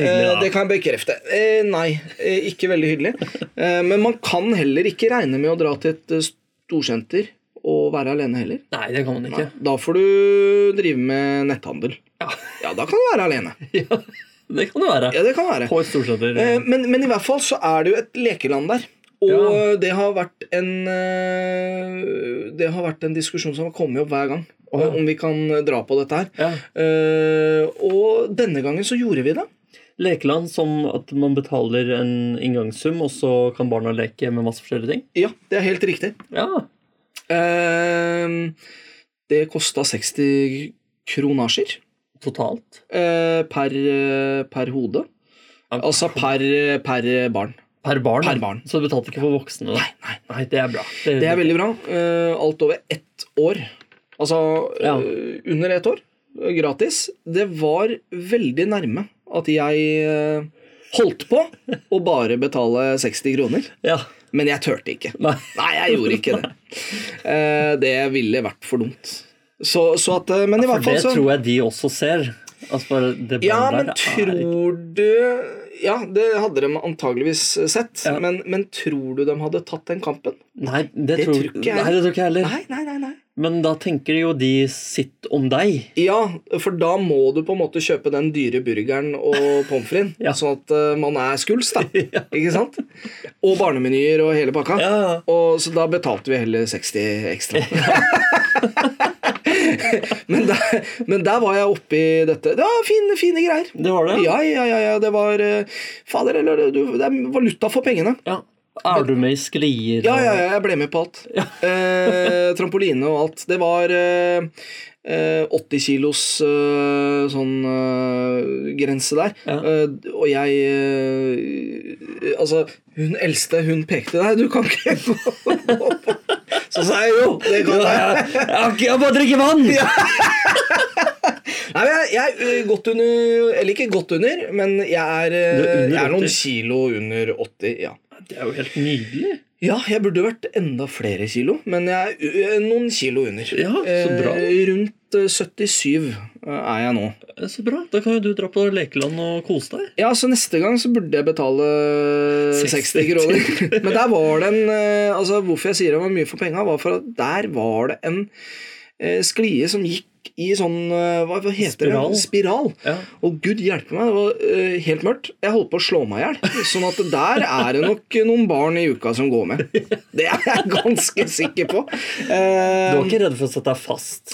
Speaker 1: Eh,
Speaker 2: det er
Speaker 1: det
Speaker 2: hyggelig, da.
Speaker 1: kan jeg bekrefte. Eh, nei, eh, ikke veldig hyggelig. Eh, men man kan heller ikke regne med å dra til et eh, storsenter og være alene heller.
Speaker 2: Nei, det kan man ikke.
Speaker 1: Da får du drive med netthandel.
Speaker 2: Ja.
Speaker 1: Ja, da kan du være alene.
Speaker 2: Ja, det kan det være.
Speaker 1: Ja, det kan være.
Speaker 2: På et storsenter.
Speaker 1: Eh, men, men i hvert fall så er det jo et lekeland der. Og
Speaker 2: Ja.
Speaker 1: det har vært en eh, Det har vært en diskusjon som har kommet opp hver gang.
Speaker 2: ja.
Speaker 1: Om vi kan dra på dette her.
Speaker 2: Ja.
Speaker 1: Eh, og denne gangen så gjorde vi det.
Speaker 2: Lekeland som at man betaler en inngangssum, og så kan barna leke med masse forskjellige ting.
Speaker 1: Ja, det er helt riktig.
Speaker 2: Ja,
Speaker 1: Ehm, det kosta 60 kronasjer
Speaker 2: Totalt.
Speaker 1: eh, per, eh, per hode.
Speaker 2: Ja,
Speaker 1: Altså per, per barn.
Speaker 2: Per barn.
Speaker 1: Per barn.
Speaker 2: Så du betalte ikke for voksne? Nei, nei. nei det er bra.
Speaker 1: Det er veldig bra. Eh, alt over ett år. Altså
Speaker 2: Ja.
Speaker 1: eh, under ett år. gratis. Det var veldig nærme at jeg eh, holdt på å bare betale 60 kroner.
Speaker 2: Ja.
Speaker 1: Men jeg turte ikke.
Speaker 2: Nei.
Speaker 1: Nei, jeg gjorde ikke det. Eh, Det ville vært for dumt. Så, så at eh, Men i
Speaker 2: For
Speaker 1: hvert fall
Speaker 2: det
Speaker 1: så
Speaker 2: tror jeg de også ser. Altså, bare det
Speaker 1: Ja,
Speaker 2: bandet
Speaker 1: men
Speaker 2: der er ikke-
Speaker 1: tror du Ja, det hadde de antageligvis sett.
Speaker 2: Ja.
Speaker 1: Men, men tror du de hadde tatt den kampen?
Speaker 2: Nei, det,
Speaker 1: Det
Speaker 2: tror,
Speaker 1: tror ikke jeg.
Speaker 2: Nei, det tror ikke jeg heller.
Speaker 1: Nei, nei, nei. nei.
Speaker 2: Men da tenker jo de sitt om deg.
Speaker 1: Ja, for da må du på en måte kjøpe den dyre burgeren og pommes fritesen,
Speaker 2: Ja.
Speaker 1: sånn at eh, man er skuls, da. Ikke sant? Og barnemenyer og hele pakka.
Speaker 2: Ja.
Speaker 1: Og, så da betalte vi heller 60 ekstra. men, der, men der var jeg oppi dette. Det var fine, fine greier.
Speaker 2: Det var det?
Speaker 1: Ja, ja, ja, ja, det var eh, Fader, eller du, det er valuta for pengene.
Speaker 2: Ja. Er du med i sklier?
Speaker 1: Ja,
Speaker 2: og-
Speaker 1: ja, ja, jeg ble med på alt. Eh, trampoline og alt. Det var eh, eh, 80 kilos eh, sånn eh, grense der.
Speaker 2: Ja.
Speaker 1: Eh, og jeg eh, Altså, hun eldste, hun pekte Nei, du kan ikke gå gå på Så sa jeg jo, det kan jeg.
Speaker 2: Jeg, jeg, jeg bare drikker vann!
Speaker 1: Nei, men jeg, jeg er godt under Eller ikke godt under, men jeg er, eh,
Speaker 2: Du er under
Speaker 1: jeg er
Speaker 2: 80.
Speaker 1: noen kilo under 80. ja
Speaker 2: Det er jo helt nydelig.
Speaker 1: Ja, jeg burde vært enda flere kilo, men jeg er ø- noen kilo under.
Speaker 2: Ja, så bra.
Speaker 1: Eh, rundt eh, 77 er jeg nå.
Speaker 2: Eh, Så bra. Da kan jo du dra på lekeland og kose deg.
Speaker 1: Ja, så neste gang så burde jeg betale 60,
Speaker 2: 60
Speaker 1: kroner. men der var det en eh, Altså, hvorfor jeg sier det var mye for penga, var for at der var det en eh, sklie som gikk i sånn eh, Hva hva heter
Speaker 2: Spiral.
Speaker 1: det? Spiral.
Speaker 2: Ja.
Speaker 1: Og gud hjelpe meg, det var eh, helt mørkt. Jeg holdt på å slå meg i hjel. Sånn at der er det nok noen barn i uka som går med. Det er jeg ganske sikker på.
Speaker 2: Du
Speaker 1: Eh,
Speaker 2: var ikke redd for å sette deg fast?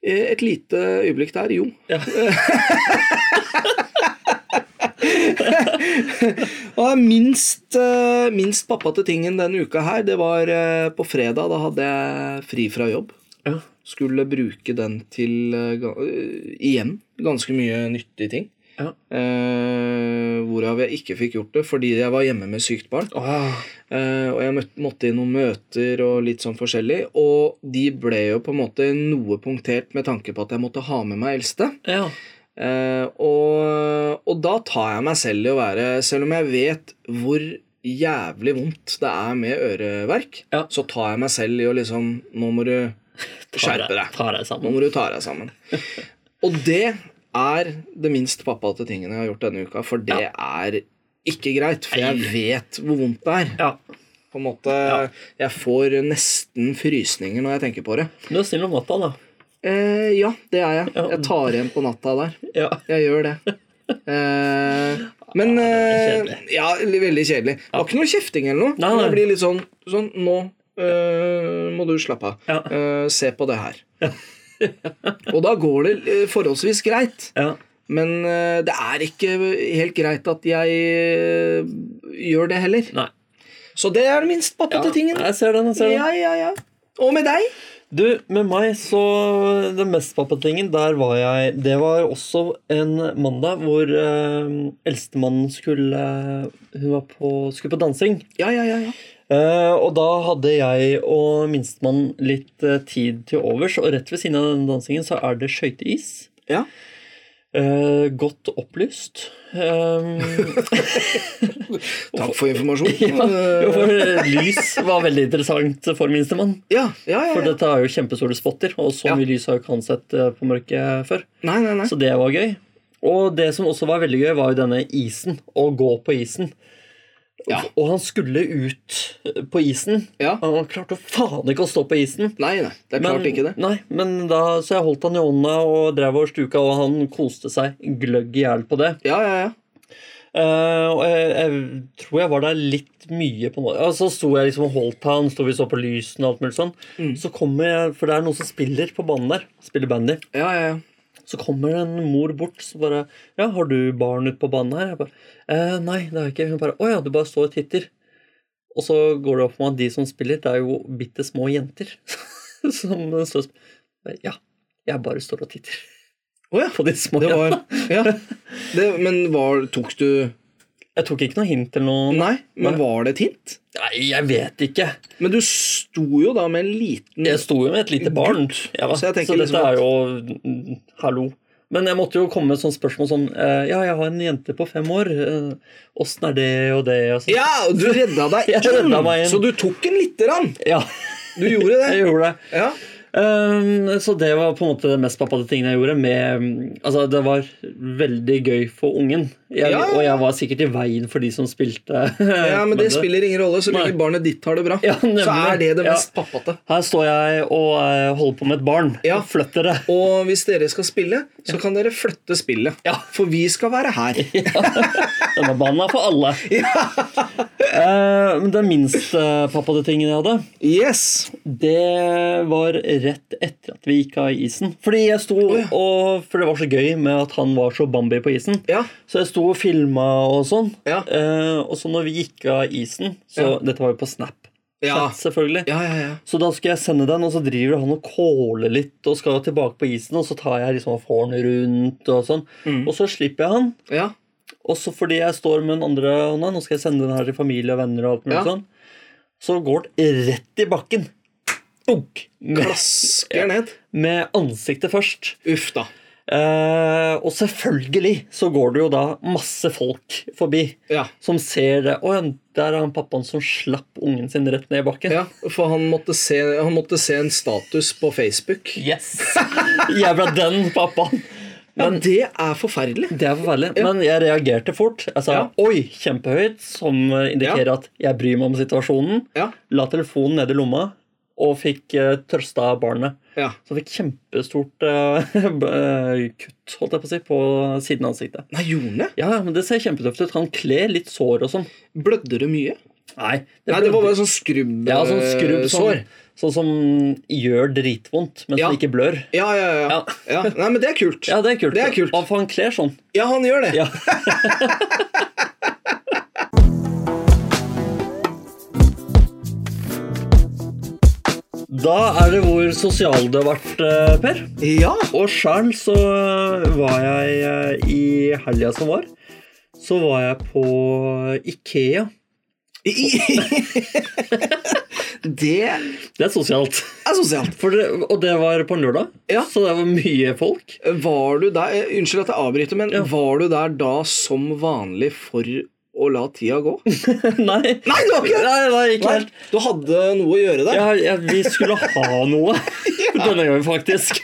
Speaker 1: et lite øyeblikk der, jo.
Speaker 2: Ja.
Speaker 1: Og det er minst, eh, minst pappa til tingen denne uka her, det var eh, på fredag. Da hadde jeg fri fra jobb.
Speaker 2: Ja.
Speaker 1: Skulle bruke den til eh, ga- eh, igjen ganske mye nyttige ting.
Speaker 2: Ja.
Speaker 1: Eh, hvorav jeg ikke fikk gjort det fordi jeg var hjemme med sykt barn.
Speaker 2: Ah.
Speaker 1: Eh, og jeg møtt, måtte i noen møter og litt sånn forskjellig. Og de ble jo på en måte noe punktert med tanke på at jeg måtte ha med meg eldste.
Speaker 2: ja.
Speaker 1: Eh, og, og da tar jeg meg selv i å være Selv om jeg vet hvor jævlig vondt det er med øreverk,
Speaker 2: Ja.
Speaker 1: så tar jeg meg selv i å liksom Nå må du skjerpe deg.
Speaker 2: Ta deg
Speaker 1: Nå
Speaker 2: sammen.
Speaker 1: må du ta deg sammen. Og det er det minst pappa til tingene jeg har gjort denne uka, for det er ikke greit. For jeg vet hvor vondt det er.
Speaker 2: Ja.
Speaker 1: På en måte, Jeg får nesten frysninger når jeg tenker på det.
Speaker 2: Du er snill om natta, da.
Speaker 1: Eh, ja, det er jeg.
Speaker 2: Ja.
Speaker 1: Jeg tar igjen på natta der.
Speaker 2: Ja.
Speaker 1: Jeg gjør det. Eh, men
Speaker 2: Ja, det
Speaker 1: eh,
Speaker 2: var
Speaker 1: Ja, veldig kjedelig. Det var ikke noe kjefting eller noe.
Speaker 2: Nei,
Speaker 1: men
Speaker 2: nei.
Speaker 1: Det blir litt sånn, sånn Nå eh, må du slappe av.
Speaker 2: Ja.
Speaker 1: Eh, se på det her. Og da går det eh, forholdsvis greit.
Speaker 2: ja.
Speaker 1: Men eh, det er ikke helt greit at jeg eh, gjør det heller.
Speaker 2: Nei.
Speaker 1: Så det er det minst pappa til tingen.
Speaker 2: Jeg ser den. jeg ser den.
Speaker 1: Ja, ja, ja. Og med deg?
Speaker 2: Du, med meg så Den mest pappatingen, der var jeg Det var også en mandag hvor eh, eldstemannen skulle Hun var på, skulle på dansing.
Speaker 1: Ja, ja, ja. ja.
Speaker 2: Eh, og da hadde jeg og minstemann litt eh, tid til overs, og rett ved siden av denne dansingen så er det skøyteis.
Speaker 1: ja.
Speaker 2: Eh, godt opplyst. Eh,
Speaker 1: Takk for informasjon.
Speaker 2: ja, jo,
Speaker 1: Eh,
Speaker 2: for lys var veldig interessant for minstemann.
Speaker 1: ja, ja, ja,
Speaker 2: For
Speaker 1: ja.
Speaker 2: dette er jo kjempestore spotter, og så
Speaker 1: Ja.
Speaker 2: mye lys har jo ikke han sett eh, på mørket før.
Speaker 1: Nei, nei, nei.
Speaker 2: Så det var gøy. Og det som også var veldig gøy, var jo denne isen. Å gå på isen.
Speaker 1: Ja.
Speaker 2: Og han skulle ut på isen.
Speaker 1: Ja.
Speaker 2: Og han klarte jo faen ikke å stå på isen.
Speaker 1: Nei, nei. Det er klart ikke det.
Speaker 2: Nei, men da, Så jeg holdt han i hånda og drev og stuka, og han koste seg gløgg i hjel på det.
Speaker 1: Ja, ja, ja.
Speaker 2: Eh, og jeg, jeg tror jeg var der litt mye. på noe. Og Så sto jeg liksom og holdt han, sto vi så på lysene og alt mulig sånn.
Speaker 1: Mm.
Speaker 2: Så kommer jeg, For det er noen som spiller på banen der. Spiller bandy.
Speaker 1: Ja, ja, ja.
Speaker 2: Så kommer det en mor bort så bare Ja, har du barn ute på banen her? Jeg bare, eh, Nei, det har jeg ikke. Hun bare Å ja, du bare står og titter. Og så går det opp med at de som spiller, det er jo bitte små jenter. som står og spiller. Ja, jeg bare står og titter
Speaker 1: Å ja.
Speaker 2: på de små
Speaker 1: Det
Speaker 2: jentene.
Speaker 1: var Ja. Det, men var Tok du
Speaker 2: Jeg tok ikke noe hint eller noe.
Speaker 1: Nei, men var det et hint?
Speaker 2: Nei, jeg vet ikke.
Speaker 1: Men du s- sto jo da med en liten
Speaker 2: Jeg sto jo med et lite barn,
Speaker 1: Gutt.
Speaker 2: ja, da.
Speaker 1: Så
Speaker 2: så,
Speaker 1: jeg tenker
Speaker 2: dette
Speaker 1: liksom at-
Speaker 2: er jo mm, Hallo. Men jeg måtte jo komme med et sånt spørsmål sånn eh, Ja, jeg har en jente på fem år. eh, Åssen er det og det? Og så-
Speaker 1: Ja, og du redda deg
Speaker 2: Jeg redda meg inn.
Speaker 1: så du tok en lite grann.
Speaker 2: ja,
Speaker 1: Du gjorde
Speaker 2: jeg
Speaker 1: det.
Speaker 2: gjorde det.
Speaker 1: Ja.
Speaker 2: Ehm, så det var på en måte det mest pappate tingene jeg gjorde. Med, mm, altså, det var veldig gøy for ungen. Jeg,
Speaker 1: Ja.
Speaker 2: Og jeg var sikkert i veien for de som spilte.
Speaker 1: ja, Men
Speaker 2: med
Speaker 1: det spiller ingen rolle. Så
Speaker 2: Nei.
Speaker 1: lenge barnet ditt har det bra,
Speaker 2: Ja, nemlig.
Speaker 1: så er det det
Speaker 2: Ja.
Speaker 1: mest pappate.
Speaker 2: Her står jeg og eh, holder på med et barn.
Speaker 1: Ja.
Speaker 2: Flytt dere.
Speaker 1: Og hvis dere skal spille, så kan dere flytte spillet.
Speaker 2: Ja.
Speaker 1: For vi skal være her.
Speaker 2: Denne banen er for alle. Eh, men den minste pappate tingen jeg hadde,
Speaker 1: Yes.
Speaker 2: det var rett etter at vi gikk av isen. Fordi jeg sto
Speaker 1: ja.
Speaker 2: og For det var så gøy med at han var så Bambi på isen.
Speaker 1: Ja.
Speaker 2: Så jeg sto og filma og sånn.
Speaker 1: Ja.
Speaker 2: Eh, og så når vi gikk av isen så
Speaker 1: Ja.
Speaker 2: Dette var jo på Snap,
Speaker 1: Ja,
Speaker 2: Chat, selvfølgelig.
Speaker 1: ja, ja. ja.
Speaker 2: Så da skal jeg sende den, og så driver han og kåler litt og skal tilbake på isen. Og så tar jeg liksom og får han rundt og sånn.
Speaker 1: Mm.
Speaker 2: Og så slipper jeg han.
Speaker 1: ja.
Speaker 2: Og så fordi jeg står med den andre hånda, nå skal jeg sende den her til familie og venner og alt mulig
Speaker 1: Ja.
Speaker 2: sånn, så går den rett i bakken. Bunk! Med,
Speaker 1: Klasker ned.
Speaker 2: med ansiktet først.
Speaker 1: Uff da.
Speaker 2: Eh, og selvfølgelig så går det jo da masse folk forbi
Speaker 1: Ja.
Speaker 2: som ser det. Å ja, der er han pappaen som slapp ungen sin rett ned i bakken.
Speaker 1: ja. For han måtte, se, han måtte se en status på Facebook.
Speaker 2: Yes! Jævla den pappaen.
Speaker 1: Men det er forferdelig.
Speaker 2: Det er forferdelig. Men jeg reagerte fort. Jeg sa
Speaker 1: Ja.
Speaker 2: oi, kjempehøyt, som indikerer at jeg bryr meg om situasjonen.
Speaker 1: Ja.
Speaker 2: La telefonen ned i lomma og fikk eh, trøsta barnet.
Speaker 1: Ja.
Speaker 2: Så fikk kjempestort eh, b- eh, kutt, holdt jeg på å si, på siden av ansiktet.
Speaker 1: Nei, gjorde han det?
Speaker 2: Ja, ja, men det ser kjempetøft ut. Han kler litt sår og sånn.
Speaker 1: Blødde det mye?
Speaker 2: Nei,
Speaker 1: Nei, det var bare sånn skrubb...
Speaker 2: ja, sånn skrubb,
Speaker 1: eh,
Speaker 2: sånn,
Speaker 1: sår.
Speaker 2: sånn som gjør dritvondt, men
Speaker 1: Ja.
Speaker 2: som ikke blør.
Speaker 1: Ja, ja, ja. ja.
Speaker 2: Ja.
Speaker 1: Nei, men det er kult.
Speaker 2: Ja, det er kult.
Speaker 1: Det er kult.
Speaker 2: Ja, for han kler sånn.
Speaker 1: Ja, han gjør det.
Speaker 2: Ja. Da er det hvor sosial du har vært, eh, Per.
Speaker 1: Ja.
Speaker 2: Og sjøl så var jeg eh, i helga som var, så var jeg på Ikea.
Speaker 1: det er
Speaker 2: Det er sosialt.
Speaker 1: sosialt.
Speaker 2: For det, og det var på en lørdag,
Speaker 1: Ja.
Speaker 2: så det var mye folk.
Speaker 1: Var du der eh, Unnskyld at jeg avbryter, men var du der da som vanlig for å la tida gå? Nei,
Speaker 2: Nei,
Speaker 1: du var ikke det!
Speaker 2: nei, nei ikke helt.
Speaker 1: Du hadde noe å gjøre der.
Speaker 2: Ja, ja, vi skulle ha noe denne gangen, faktisk.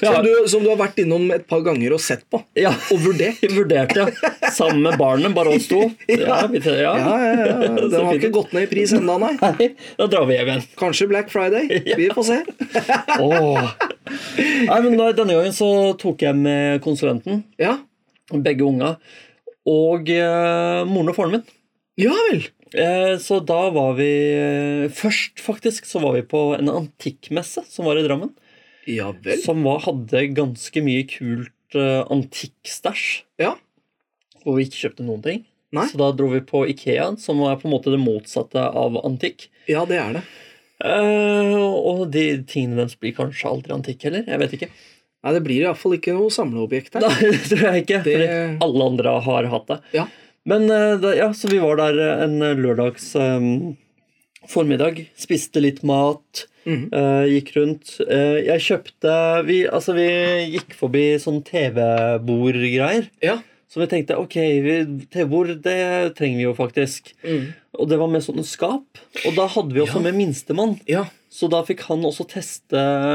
Speaker 1: Som, du, som du har vært innom et par ganger og sett på.
Speaker 2: Ja,
Speaker 1: Og vurdert.
Speaker 2: vi vurderte, ja. Sammen med barnet, bare oss to. Ja, vi tre, ja.
Speaker 1: Ja, ja, ja. Den har ikke gått ned i pris ennå, nei.
Speaker 2: Nei, da drar vi hjem igjen.
Speaker 1: Kanskje Black Friday. Vi får se.
Speaker 2: Åh. Nei, men da, denne gangen så tok jeg med konsulenten,
Speaker 1: Ja,
Speaker 2: begge unga, og eh, moren og faren min.
Speaker 1: ja vel.
Speaker 2: Eh, så da var vi eh, Først, faktisk, så var vi på en antikkmesse som var i Drammen.
Speaker 1: Ja vel.
Speaker 2: Som var, hadde ganske mye kult eh, antikkstæsj.
Speaker 1: Ja.
Speaker 2: hvor vi ikke kjøpte noen ting.
Speaker 1: Nei.
Speaker 2: Så da dro vi på Ikea, som er på en måte det motsatte av antikk.
Speaker 1: ja, det er det.
Speaker 2: Eh, og de tingene deres blir kanskje aldri antikk heller. Jeg vet ikke.
Speaker 1: Nei, Det blir iallfall ikke noe samleobjekt her.
Speaker 2: Nei, det tror jeg ikke,
Speaker 1: Det-
Speaker 2: fordi alle andre har hatt det.
Speaker 1: Ja.
Speaker 2: Men eh, da, ja, så vi var der eh, en lørdags eh, formiddag, spiste litt mat,
Speaker 1: Mhm.
Speaker 2: eh, gikk rundt. Eh, jeg kjøpte vi, Altså, vi gikk forbi sånn TV-bordgreier.
Speaker 1: Ja.
Speaker 2: Så vi tenkte ok, vi- TV-bord det trenger vi jo faktisk.
Speaker 1: Mm.
Speaker 2: Og det var med sånne skap. Og da hadde vi også
Speaker 1: Ja.
Speaker 2: med minstemann.
Speaker 1: ja.
Speaker 2: Så da fikk han også teste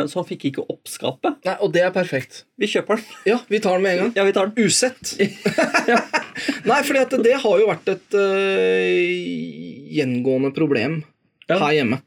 Speaker 2: Så han fikk ikke opp skapet.
Speaker 1: Nei, Og det er perfekt.
Speaker 2: Vi kjøper den.
Speaker 1: Ja, vi tar den med en gang.
Speaker 2: Ja, vi tar den.
Speaker 1: Usett. Nei, fordi at det har jo vært et øh, gjengående problem
Speaker 2: Ja.
Speaker 1: her hjemme.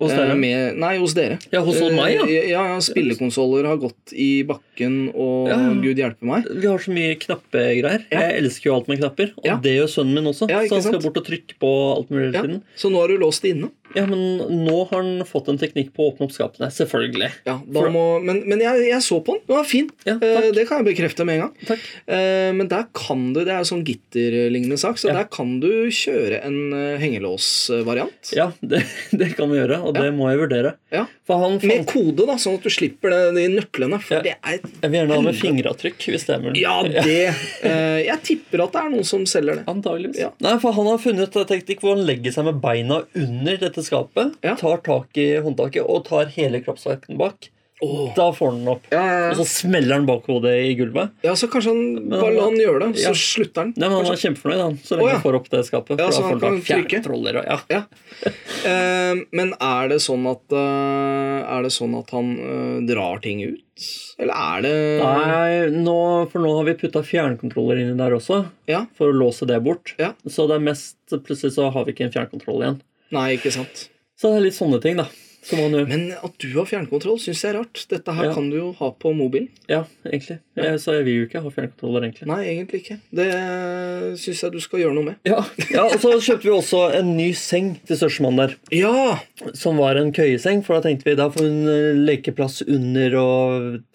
Speaker 2: Hos
Speaker 1: Eh,
Speaker 2: dere?
Speaker 1: Med, nei, hos dere.
Speaker 2: Ja, hos
Speaker 1: Eh,
Speaker 2: meg, ja.
Speaker 1: ja, ja Spillekonsoller har gått i bakken, og
Speaker 2: Ja.
Speaker 1: gud hjelpe meg.
Speaker 2: Vi har så mye knappegreier.
Speaker 1: Ja.
Speaker 2: Jeg elsker jo alt med knapper. Og
Speaker 1: Ja.
Speaker 2: det gjør sønnen min også.
Speaker 1: Ja, ikke
Speaker 2: så han skal
Speaker 1: sant?
Speaker 2: bort og trykke på alt mulig hele
Speaker 1: Ja.
Speaker 2: tiden.
Speaker 1: Så nå har du låst det inne.
Speaker 2: Ja, men nå har han fått en teknikk på å åpne opp skapene. Selvfølgelig.
Speaker 1: Ja, da
Speaker 2: For-
Speaker 1: må, men men jeg, jeg så på den. Den var fin.
Speaker 2: Ja,
Speaker 1: Eh,
Speaker 2: takk.
Speaker 1: det kan jeg bekrefte med en gang.
Speaker 2: Takk.
Speaker 1: Eh, men der kan du, det er sånn gitterlignende sak, så
Speaker 2: Ja.
Speaker 1: der kan du kjøre en eh, hengelåsvariant.
Speaker 2: Ja, det, det kan vi gjøre, og det må jeg vurdere.
Speaker 1: Ja.
Speaker 2: For han
Speaker 1: Med
Speaker 2: fant
Speaker 1: kode, da, sånn at du slipper det, de nøklene. For
Speaker 2: Ja.
Speaker 1: det er
Speaker 2: Jeg vil gjerne ha med fingeravtrykk, hvis det er mulig.
Speaker 1: Ja, det eh, Jeg tipper at det er noen som selger det.
Speaker 2: Antageligvis.
Speaker 1: Ja.
Speaker 2: Nei, for han har funnet en teknikk hvor han legger seg med beina under dette til skapet,
Speaker 1: Ja.
Speaker 2: tar tak i håndtaket og tar hele kroppsvekten bak.
Speaker 1: Åh.
Speaker 2: Da får den den opp.
Speaker 1: Ja, ja,
Speaker 2: Og så
Speaker 1: ja.
Speaker 2: smeller den bak hodet i gulvet.
Speaker 1: ja, så kanskje han bare la han gjøre det, så
Speaker 2: Ja.
Speaker 1: slutter han.
Speaker 2: Nei, men Han
Speaker 1: Kanskje.
Speaker 2: er kjempefornøyd han, så lenge
Speaker 1: Å, ja.
Speaker 2: han får opp det skapet.
Speaker 1: Ja,
Speaker 2: for
Speaker 1: så
Speaker 2: da
Speaker 1: han
Speaker 2: får
Speaker 1: kan
Speaker 2: fjerne
Speaker 1: trykke.
Speaker 2: troller og, ja.
Speaker 1: Ja. Eh, men er det sånn at eh, Er det sånn at han eh, drar ting ut? Eller er det
Speaker 2: Nei, nå, for nå har vi putta fjernkontroller inni der også,
Speaker 1: Ja.
Speaker 2: for å låse det bort.
Speaker 1: Ja.
Speaker 2: Så det er mest plutselig så har vi ikke en fjernkontroll igjen.
Speaker 1: Nei, ikke sant.
Speaker 2: Så det er litt sånne ting, da. Som man gjør.
Speaker 1: Men at du har fjernkontroll, syns jeg er rart. Dette her
Speaker 2: Ja.
Speaker 1: kan du jo ha på mobilen.
Speaker 2: Ja, egentlig. Jeg, så jeg vil jo ikke ha fjernkontroller, egentlig.
Speaker 1: Nei, egentlig ikke. Det syns jeg du skal gjøre noe med.
Speaker 2: Ja. ja, og så kjøpte vi også en ny seng til størstemann der.
Speaker 1: Ja!
Speaker 2: Som var en køyeseng, for da tenkte vi da får hun eh, lekeplass under, og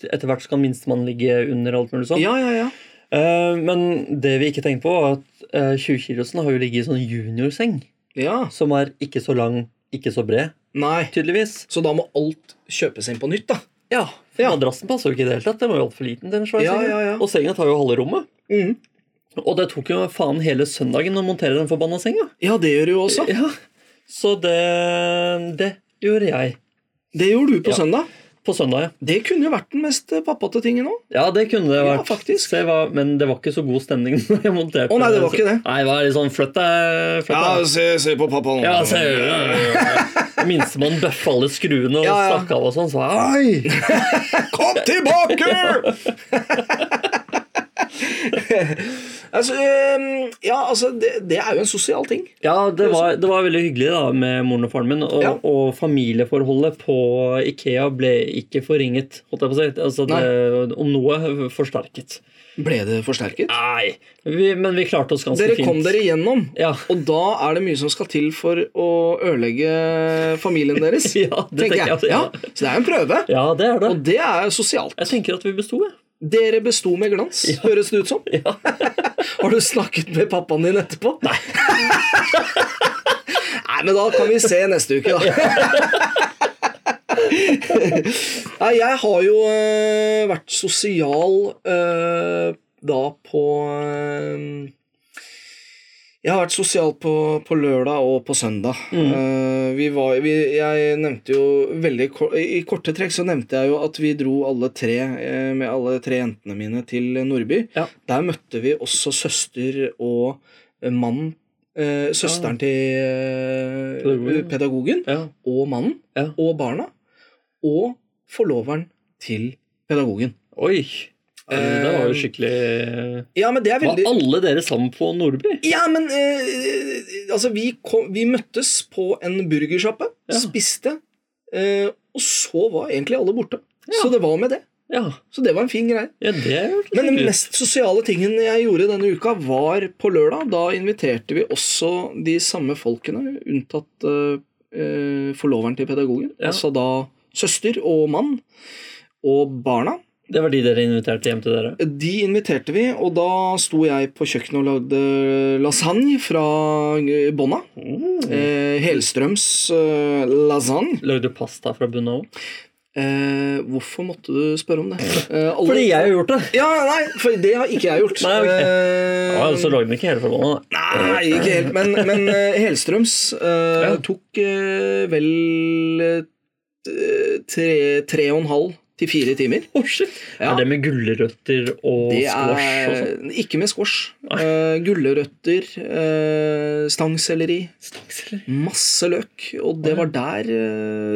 Speaker 2: etter hvert så kan minstemann ligge under og alt mulig sånt.
Speaker 1: Ja, ja, ja.
Speaker 2: Eh, men det vi ikke tenkte på, var at eh, 20-kilosen har jo ligget i sånn juniorseng.
Speaker 1: ja.
Speaker 2: Som er ikke så lang, ikke så bred,
Speaker 1: Nei.
Speaker 2: tydeligvis.
Speaker 1: Så da må alt kjøpes inn på nytt, da.
Speaker 2: Ja, for
Speaker 1: Ja.
Speaker 2: Madrassen passer jo ikke i det hele tatt. Den var jo altfor liten. til en svær
Speaker 1: Ja,
Speaker 2: seng.
Speaker 1: ja, ja.
Speaker 2: Og senga tar jo halve rommet.
Speaker 1: Mhm.
Speaker 2: Og det tok jo faen hele søndagen å montere den forbanna senga.
Speaker 1: Ja, det gjør du jo også.
Speaker 2: Ja. Så det, det gjorde jeg.
Speaker 1: Det gjorde du på
Speaker 2: Ja.
Speaker 1: søndag.
Speaker 2: På søndag, ja.
Speaker 1: Det kunne jo vært den mest eh, pappate tingen òg.
Speaker 2: Ja, det kunne det
Speaker 1: Ja,
Speaker 2: vært.
Speaker 1: faktisk.
Speaker 2: Så jeg var, men det var ikke så god stemning når jeg monterte.
Speaker 1: Å, nei, det var ikke det.
Speaker 2: Nei, det var litt sånn flytt deg. Flytt deg.
Speaker 1: se, på pappa nå.
Speaker 2: Ja, så Minstemann bøffa alle skruene og
Speaker 1: Ja, ja.
Speaker 2: stakk av og sånn. Så jeg, Oi!
Speaker 1: Kom tilbake! altså, øhm, ja, altså det, det er jo en sosial ting.
Speaker 2: Ja, det var, det var veldig hyggelig da med moren og faren min. Og,
Speaker 1: Ja.
Speaker 2: og familieforholdet på Ikea ble ikke forringet. Holdt jeg på å si. altså, det, om noe eh, forsterket.
Speaker 1: Ble det forsterket?
Speaker 2: Nei, vi, men vi klarte oss ganske
Speaker 1: Dere
Speaker 2: fint.
Speaker 1: kom dere gjennom,
Speaker 2: Ja.
Speaker 1: og da er det mye som skal til for å ødelegge familien deres.
Speaker 2: Ja, det tenker jeg.
Speaker 1: Ja, så det er en prøve,
Speaker 2: Ja, det er det.
Speaker 1: og det er sosialt.
Speaker 2: Jeg tenker at vi besto, jeg.
Speaker 1: Dere besto med glans, høres det ut som.
Speaker 2: Ja.
Speaker 1: Har du snakket med pappaen din etterpå? Nei. Nei, men da kan vi se neste uke, da. Nei, jeg har jo eh, vært sosial eh, da på eh, jeg har vært sosial på, på lørdag og på søndag.
Speaker 2: Mm.
Speaker 1: Eh, vi var, vi, jeg nevnte jo veldig kor- I korte trekk så nevnte jeg jo at vi dro alle tre eh, med alle tre jentene mine til Nordby.
Speaker 2: Ja.
Speaker 1: Der møtte vi også søster og eh, mann eh, Søsteren til eh,
Speaker 2: Pedagogen.
Speaker 1: pedagogen
Speaker 2: Ja.
Speaker 1: og mannen
Speaker 2: Ja.
Speaker 1: og barna. Og forloveren til pedagogen.
Speaker 2: Oi. Ja, Det var
Speaker 1: Eh,
Speaker 2: jo skikkelig
Speaker 1: Ja, men det er
Speaker 2: Var
Speaker 1: veldig
Speaker 2: alle dere sammen på Nordby?
Speaker 1: Ja, men eh, altså, vi, kom, vi møttes på en burgersjappe,
Speaker 2: Ja.
Speaker 1: spiste, eh, og så var egentlig alle borte. Så det var med det.
Speaker 2: Ja,
Speaker 1: Så det var en fin greie.
Speaker 2: ja det er jo
Speaker 1: Men den
Speaker 2: hyggelig.
Speaker 1: mest sosiale tingen jeg gjorde denne uka, var på lørdag. Da inviterte vi også de samme folkene, unntatt eh, eh, forloveren til pedagogen.
Speaker 2: Ja.
Speaker 1: Altså da søster og mann og barna.
Speaker 2: Det var de dere inviterte hjem til dere?
Speaker 1: De inviterte vi, og da sto jeg på kjøkkenet og lagde lasagne fra eh, bånna.
Speaker 2: Mm.
Speaker 1: Eh, Helstrøms eh, lasagne.
Speaker 2: Lagde du pasta fra bunnen av?
Speaker 1: Eh, hvorfor måtte du spørre om det? Eh, alle-
Speaker 2: Fordi jeg har gjort det!
Speaker 1: Ja, nei, for det har ikke jeg gjort.
Speaker 2: Nei, ok.
Speaker 1: Eh,
Speaker 2: Ja, så lagde den ikke hele fra bunnen av. da.
Speaker 1: Nei, ikke helt. Men, men eh, Helstrøms eh,
Speaker 2: Ja.
Speaker 1: tok eh, vel eh, tre, tre og en halv til fire timer.
Speaker 2: Å, Oh, shit.
Speaker 1: Ja.
Speaker 2: Er det med gulrøtter og
Speaker 1: Det
Speaker 2: squash og
Speaker 1: er
Speaker 2: sånn?
Speaker 1: ikke med squash. Eh, gulrøtter, eh, stangselleri,
Speaker 2: Stangselleri.
Speaker 1: masse løk. Og det var der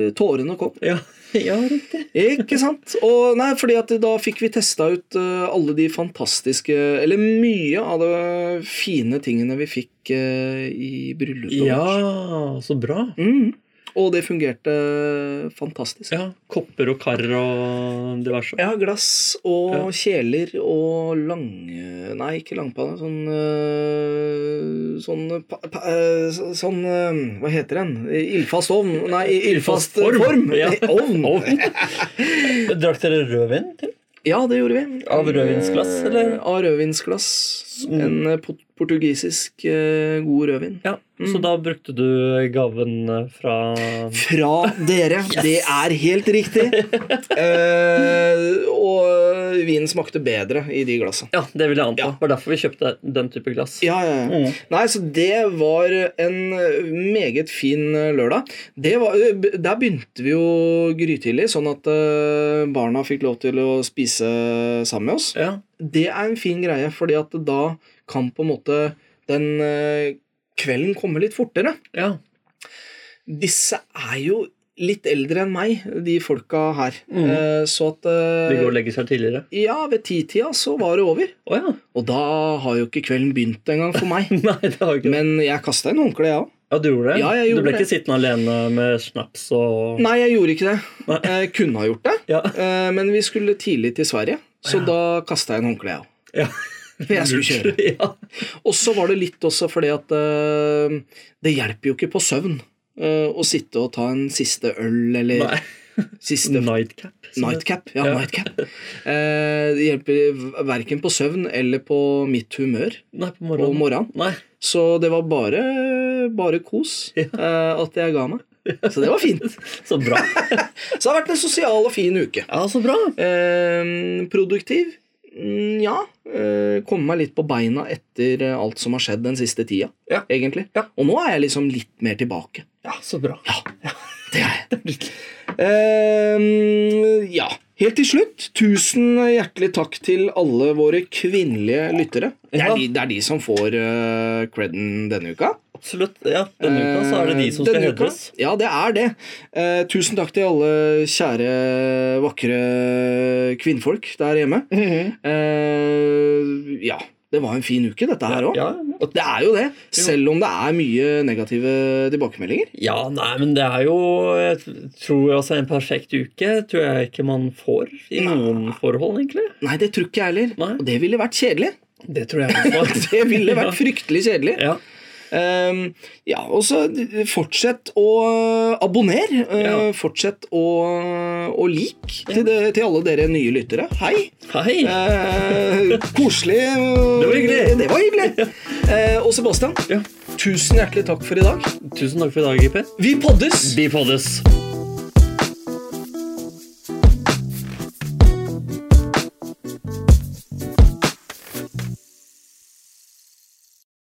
Speaker 1: eh, tårene kom.
Speaker 2: Ja. ja, riktig.
Speaker 1: Ikke sant? Og nei, fordi at da fikk vi testa ut eh, alle de fantastiske Eller mye av de fine tingene vi fikk eh, i bryllupet vårt.
Speaker 2: Ja, så bra.
Speaker 1: Mm. Og det fungerte eh, fantastisk.
Speaker 2: Ja, Kopper og kar og diverse.
Speaker 1: Ja, glass og kjeler og lange Nei, ikke langpanne. Sånn øh, Sånn pa, pa, øh, så- Sånn øh, Hva heter den? Ildfast ovn? Nei, ildfast form.
Speaker 2: Ja.
Speaker 1: Ovn.
Speaker 2: Drakk dere rødvin til?
Speaker 1: Ja, det gjorde vi.
Speaker 2: Av rødvinsglass, eller?
Speaker 1: Eh, Av rødvinsglass.
Speaker 2: Mm.
Speaker 1: En eh, port- portugisisk eh, god rødvin.
Speaker 2: Ja, Så da brukte du gaven fra
Speaker 1: Fra dere. Det er helt riktig. Eh, og vinen smakte bedre i de glassa.
Speaker 2: Ja, det vil jeg anta.
Speaker 1: Ja.
Speaker 2: Det var derfor vi kjøpte den type glass.
Speaker 1: Ja, ja, ja.
Speaker 2: Mm.
Speaker 1: Nei, så det var en eh, meget fin eh, lørdag. Det var, eh, der begynte vi jo grytidlig, sånn at eh, barna fikk lov til å spise sammen med oss.
Speaker 2: Ja.
Speaker 1: Det er en fin greie, fordi at da kan på en måte den eh, kvelden komme litt fortere.
Speaker 2: ja.
Speaker 1: Disse er jo litt eldre enn meg, de folka her.
Speaker 2: Mm.
Speaker 1: Eh, Så at eh,
Speaker 2: De går og legger seg tidligere.
Speaker 1: Ja, ved titida så var det over.
Speaker 2: Å ja.
Speaker 1: Og da har jo ikke kvelden begynt engang for meg.
Speaker 2: Nei, det har jeg ikke.
Speaker 1: Men jeg kasta en håndkle, jeg òg.
Speaker 2: Ja, du gjorde det? Mm.
Speaker 1: Ja, jeg gjorde
Speaker 2: du ble
Speaker 1: det.
Speaker 2: ikke sittende alene med snaps og
Speaker 1: Nei, jeg gjorde ikke det.
Speaker 2: Nei.
Speaker 1: Jeg kunne ha gjort det,
Speaker 2: Ja.
Speaker 1: eh, men vi skulle tidlig til Sverige, så
Speaker 2: Ja.
Speaker 1: da kasta jeg en håndkle, jeg òg.
Speaker 2: ja.
Speaker 1: For jeg skulle kjøre.
Speaker 2: Ja.
Speaker 1: Og så var det litt også fordi at eh, det hjelper jo ikke på søvn eh, å sitte og ta en siste øl eller
Speaker 2: Nei.
Speaker 1: siste
Speaker 2: Nightcap. som det-
Speaker 1: Nightcap. Ja,
Speaker 2: Ja.
Speaker 1: nightcap. Eh, det hjelper verken på søvn eller på mitt humør
Speaker 2: Nei, på
Speaker 1: om
Speaker 2: morgenen.
Speaker 1: morgenen.
Speaker 2: Nei.
Speaker 1: Så det var bare, bare kos
Speaker 2: Ja.
Speaker 1: eh, at jeg ga meg. Så det var fint.
Speaker 2: Så bra.
Speaker 1: Så det har vært en sosial og fin uke.
Speaker 2: Ja, så bra.
Speaker 1: Eh, produktiv? Mm, Ja. Eh, Komme meg litt på beina etter eh, alt som har skjedd den siste tida,
Speaker 2: Ja.
Speaker 1: egentlig.
Speaker 2: Ja.
Speaker 1: Og nå er jeg liksom litt mer tilbake.
Speaker 2: Ja, så bra.
Speaker 1: Ja, det er jeg. Eh, ja. Helt til slutt, tusen hjertelig takk til alle våre kvinnelige lyttere. Det er
Speaker 2: Ja.
Speaker 1: de, det er de som får eh, creden denne uka.
Speaker 2: Absolutt. Ja, Denne uka så er det de som
Speaker 1: Eh,
Speaker 2: skal
Speaker 1: denne uka-
Speaker 2: hedres.
Speaker 1: Ja, det er det. Eh, tusen takk til alle kjære, vakre kvinnfolk der hjemme.
Speaker 2: Mhm.
Speaker 1: Eh, ja, det var en fin uke, dette her òg.
Speaker 2: Ja, og
Speaker 1: Det er jo det, selv om det er mye negative tilbakemeldinger.
Speaker 2: Ja, nei, men det er jo jeg tror altså En perfekt uke tror jeg ikke man får i noen forhold, egentlig.
Speaker 1: Nei, det tror ikke jeg heller.
Speaker 2: Nei.
Speaker 1: Og det ville vært kjedelig.
Speaker 2: Det tror jeg også.
Speaker 1: Det ville vært fryktelig kjedelig.
Speaker 2: ja.
Speaker 1: Ehm, ja, og så fortsett å abonnere. eh,
Speaker 2: Ja.
Speaker 1: Fortsett å, å like til, det, til alle dere nye lyttere. Hei!
Speaker 2: Hei!
Speaker 1: Eh, koselig.
Speaker 2: Det var hyggelig.
Speaker 1: Det var hyggelig. Eh, og Sebastian,
Speaker 2: Ja.
Speaker 1: tusen hjertelig takk for i dag.
Speaker 2: Tusen takk for i dag, Jippi.
Speaker 1: Vi poddes!
Speaker 2: Vi poddes.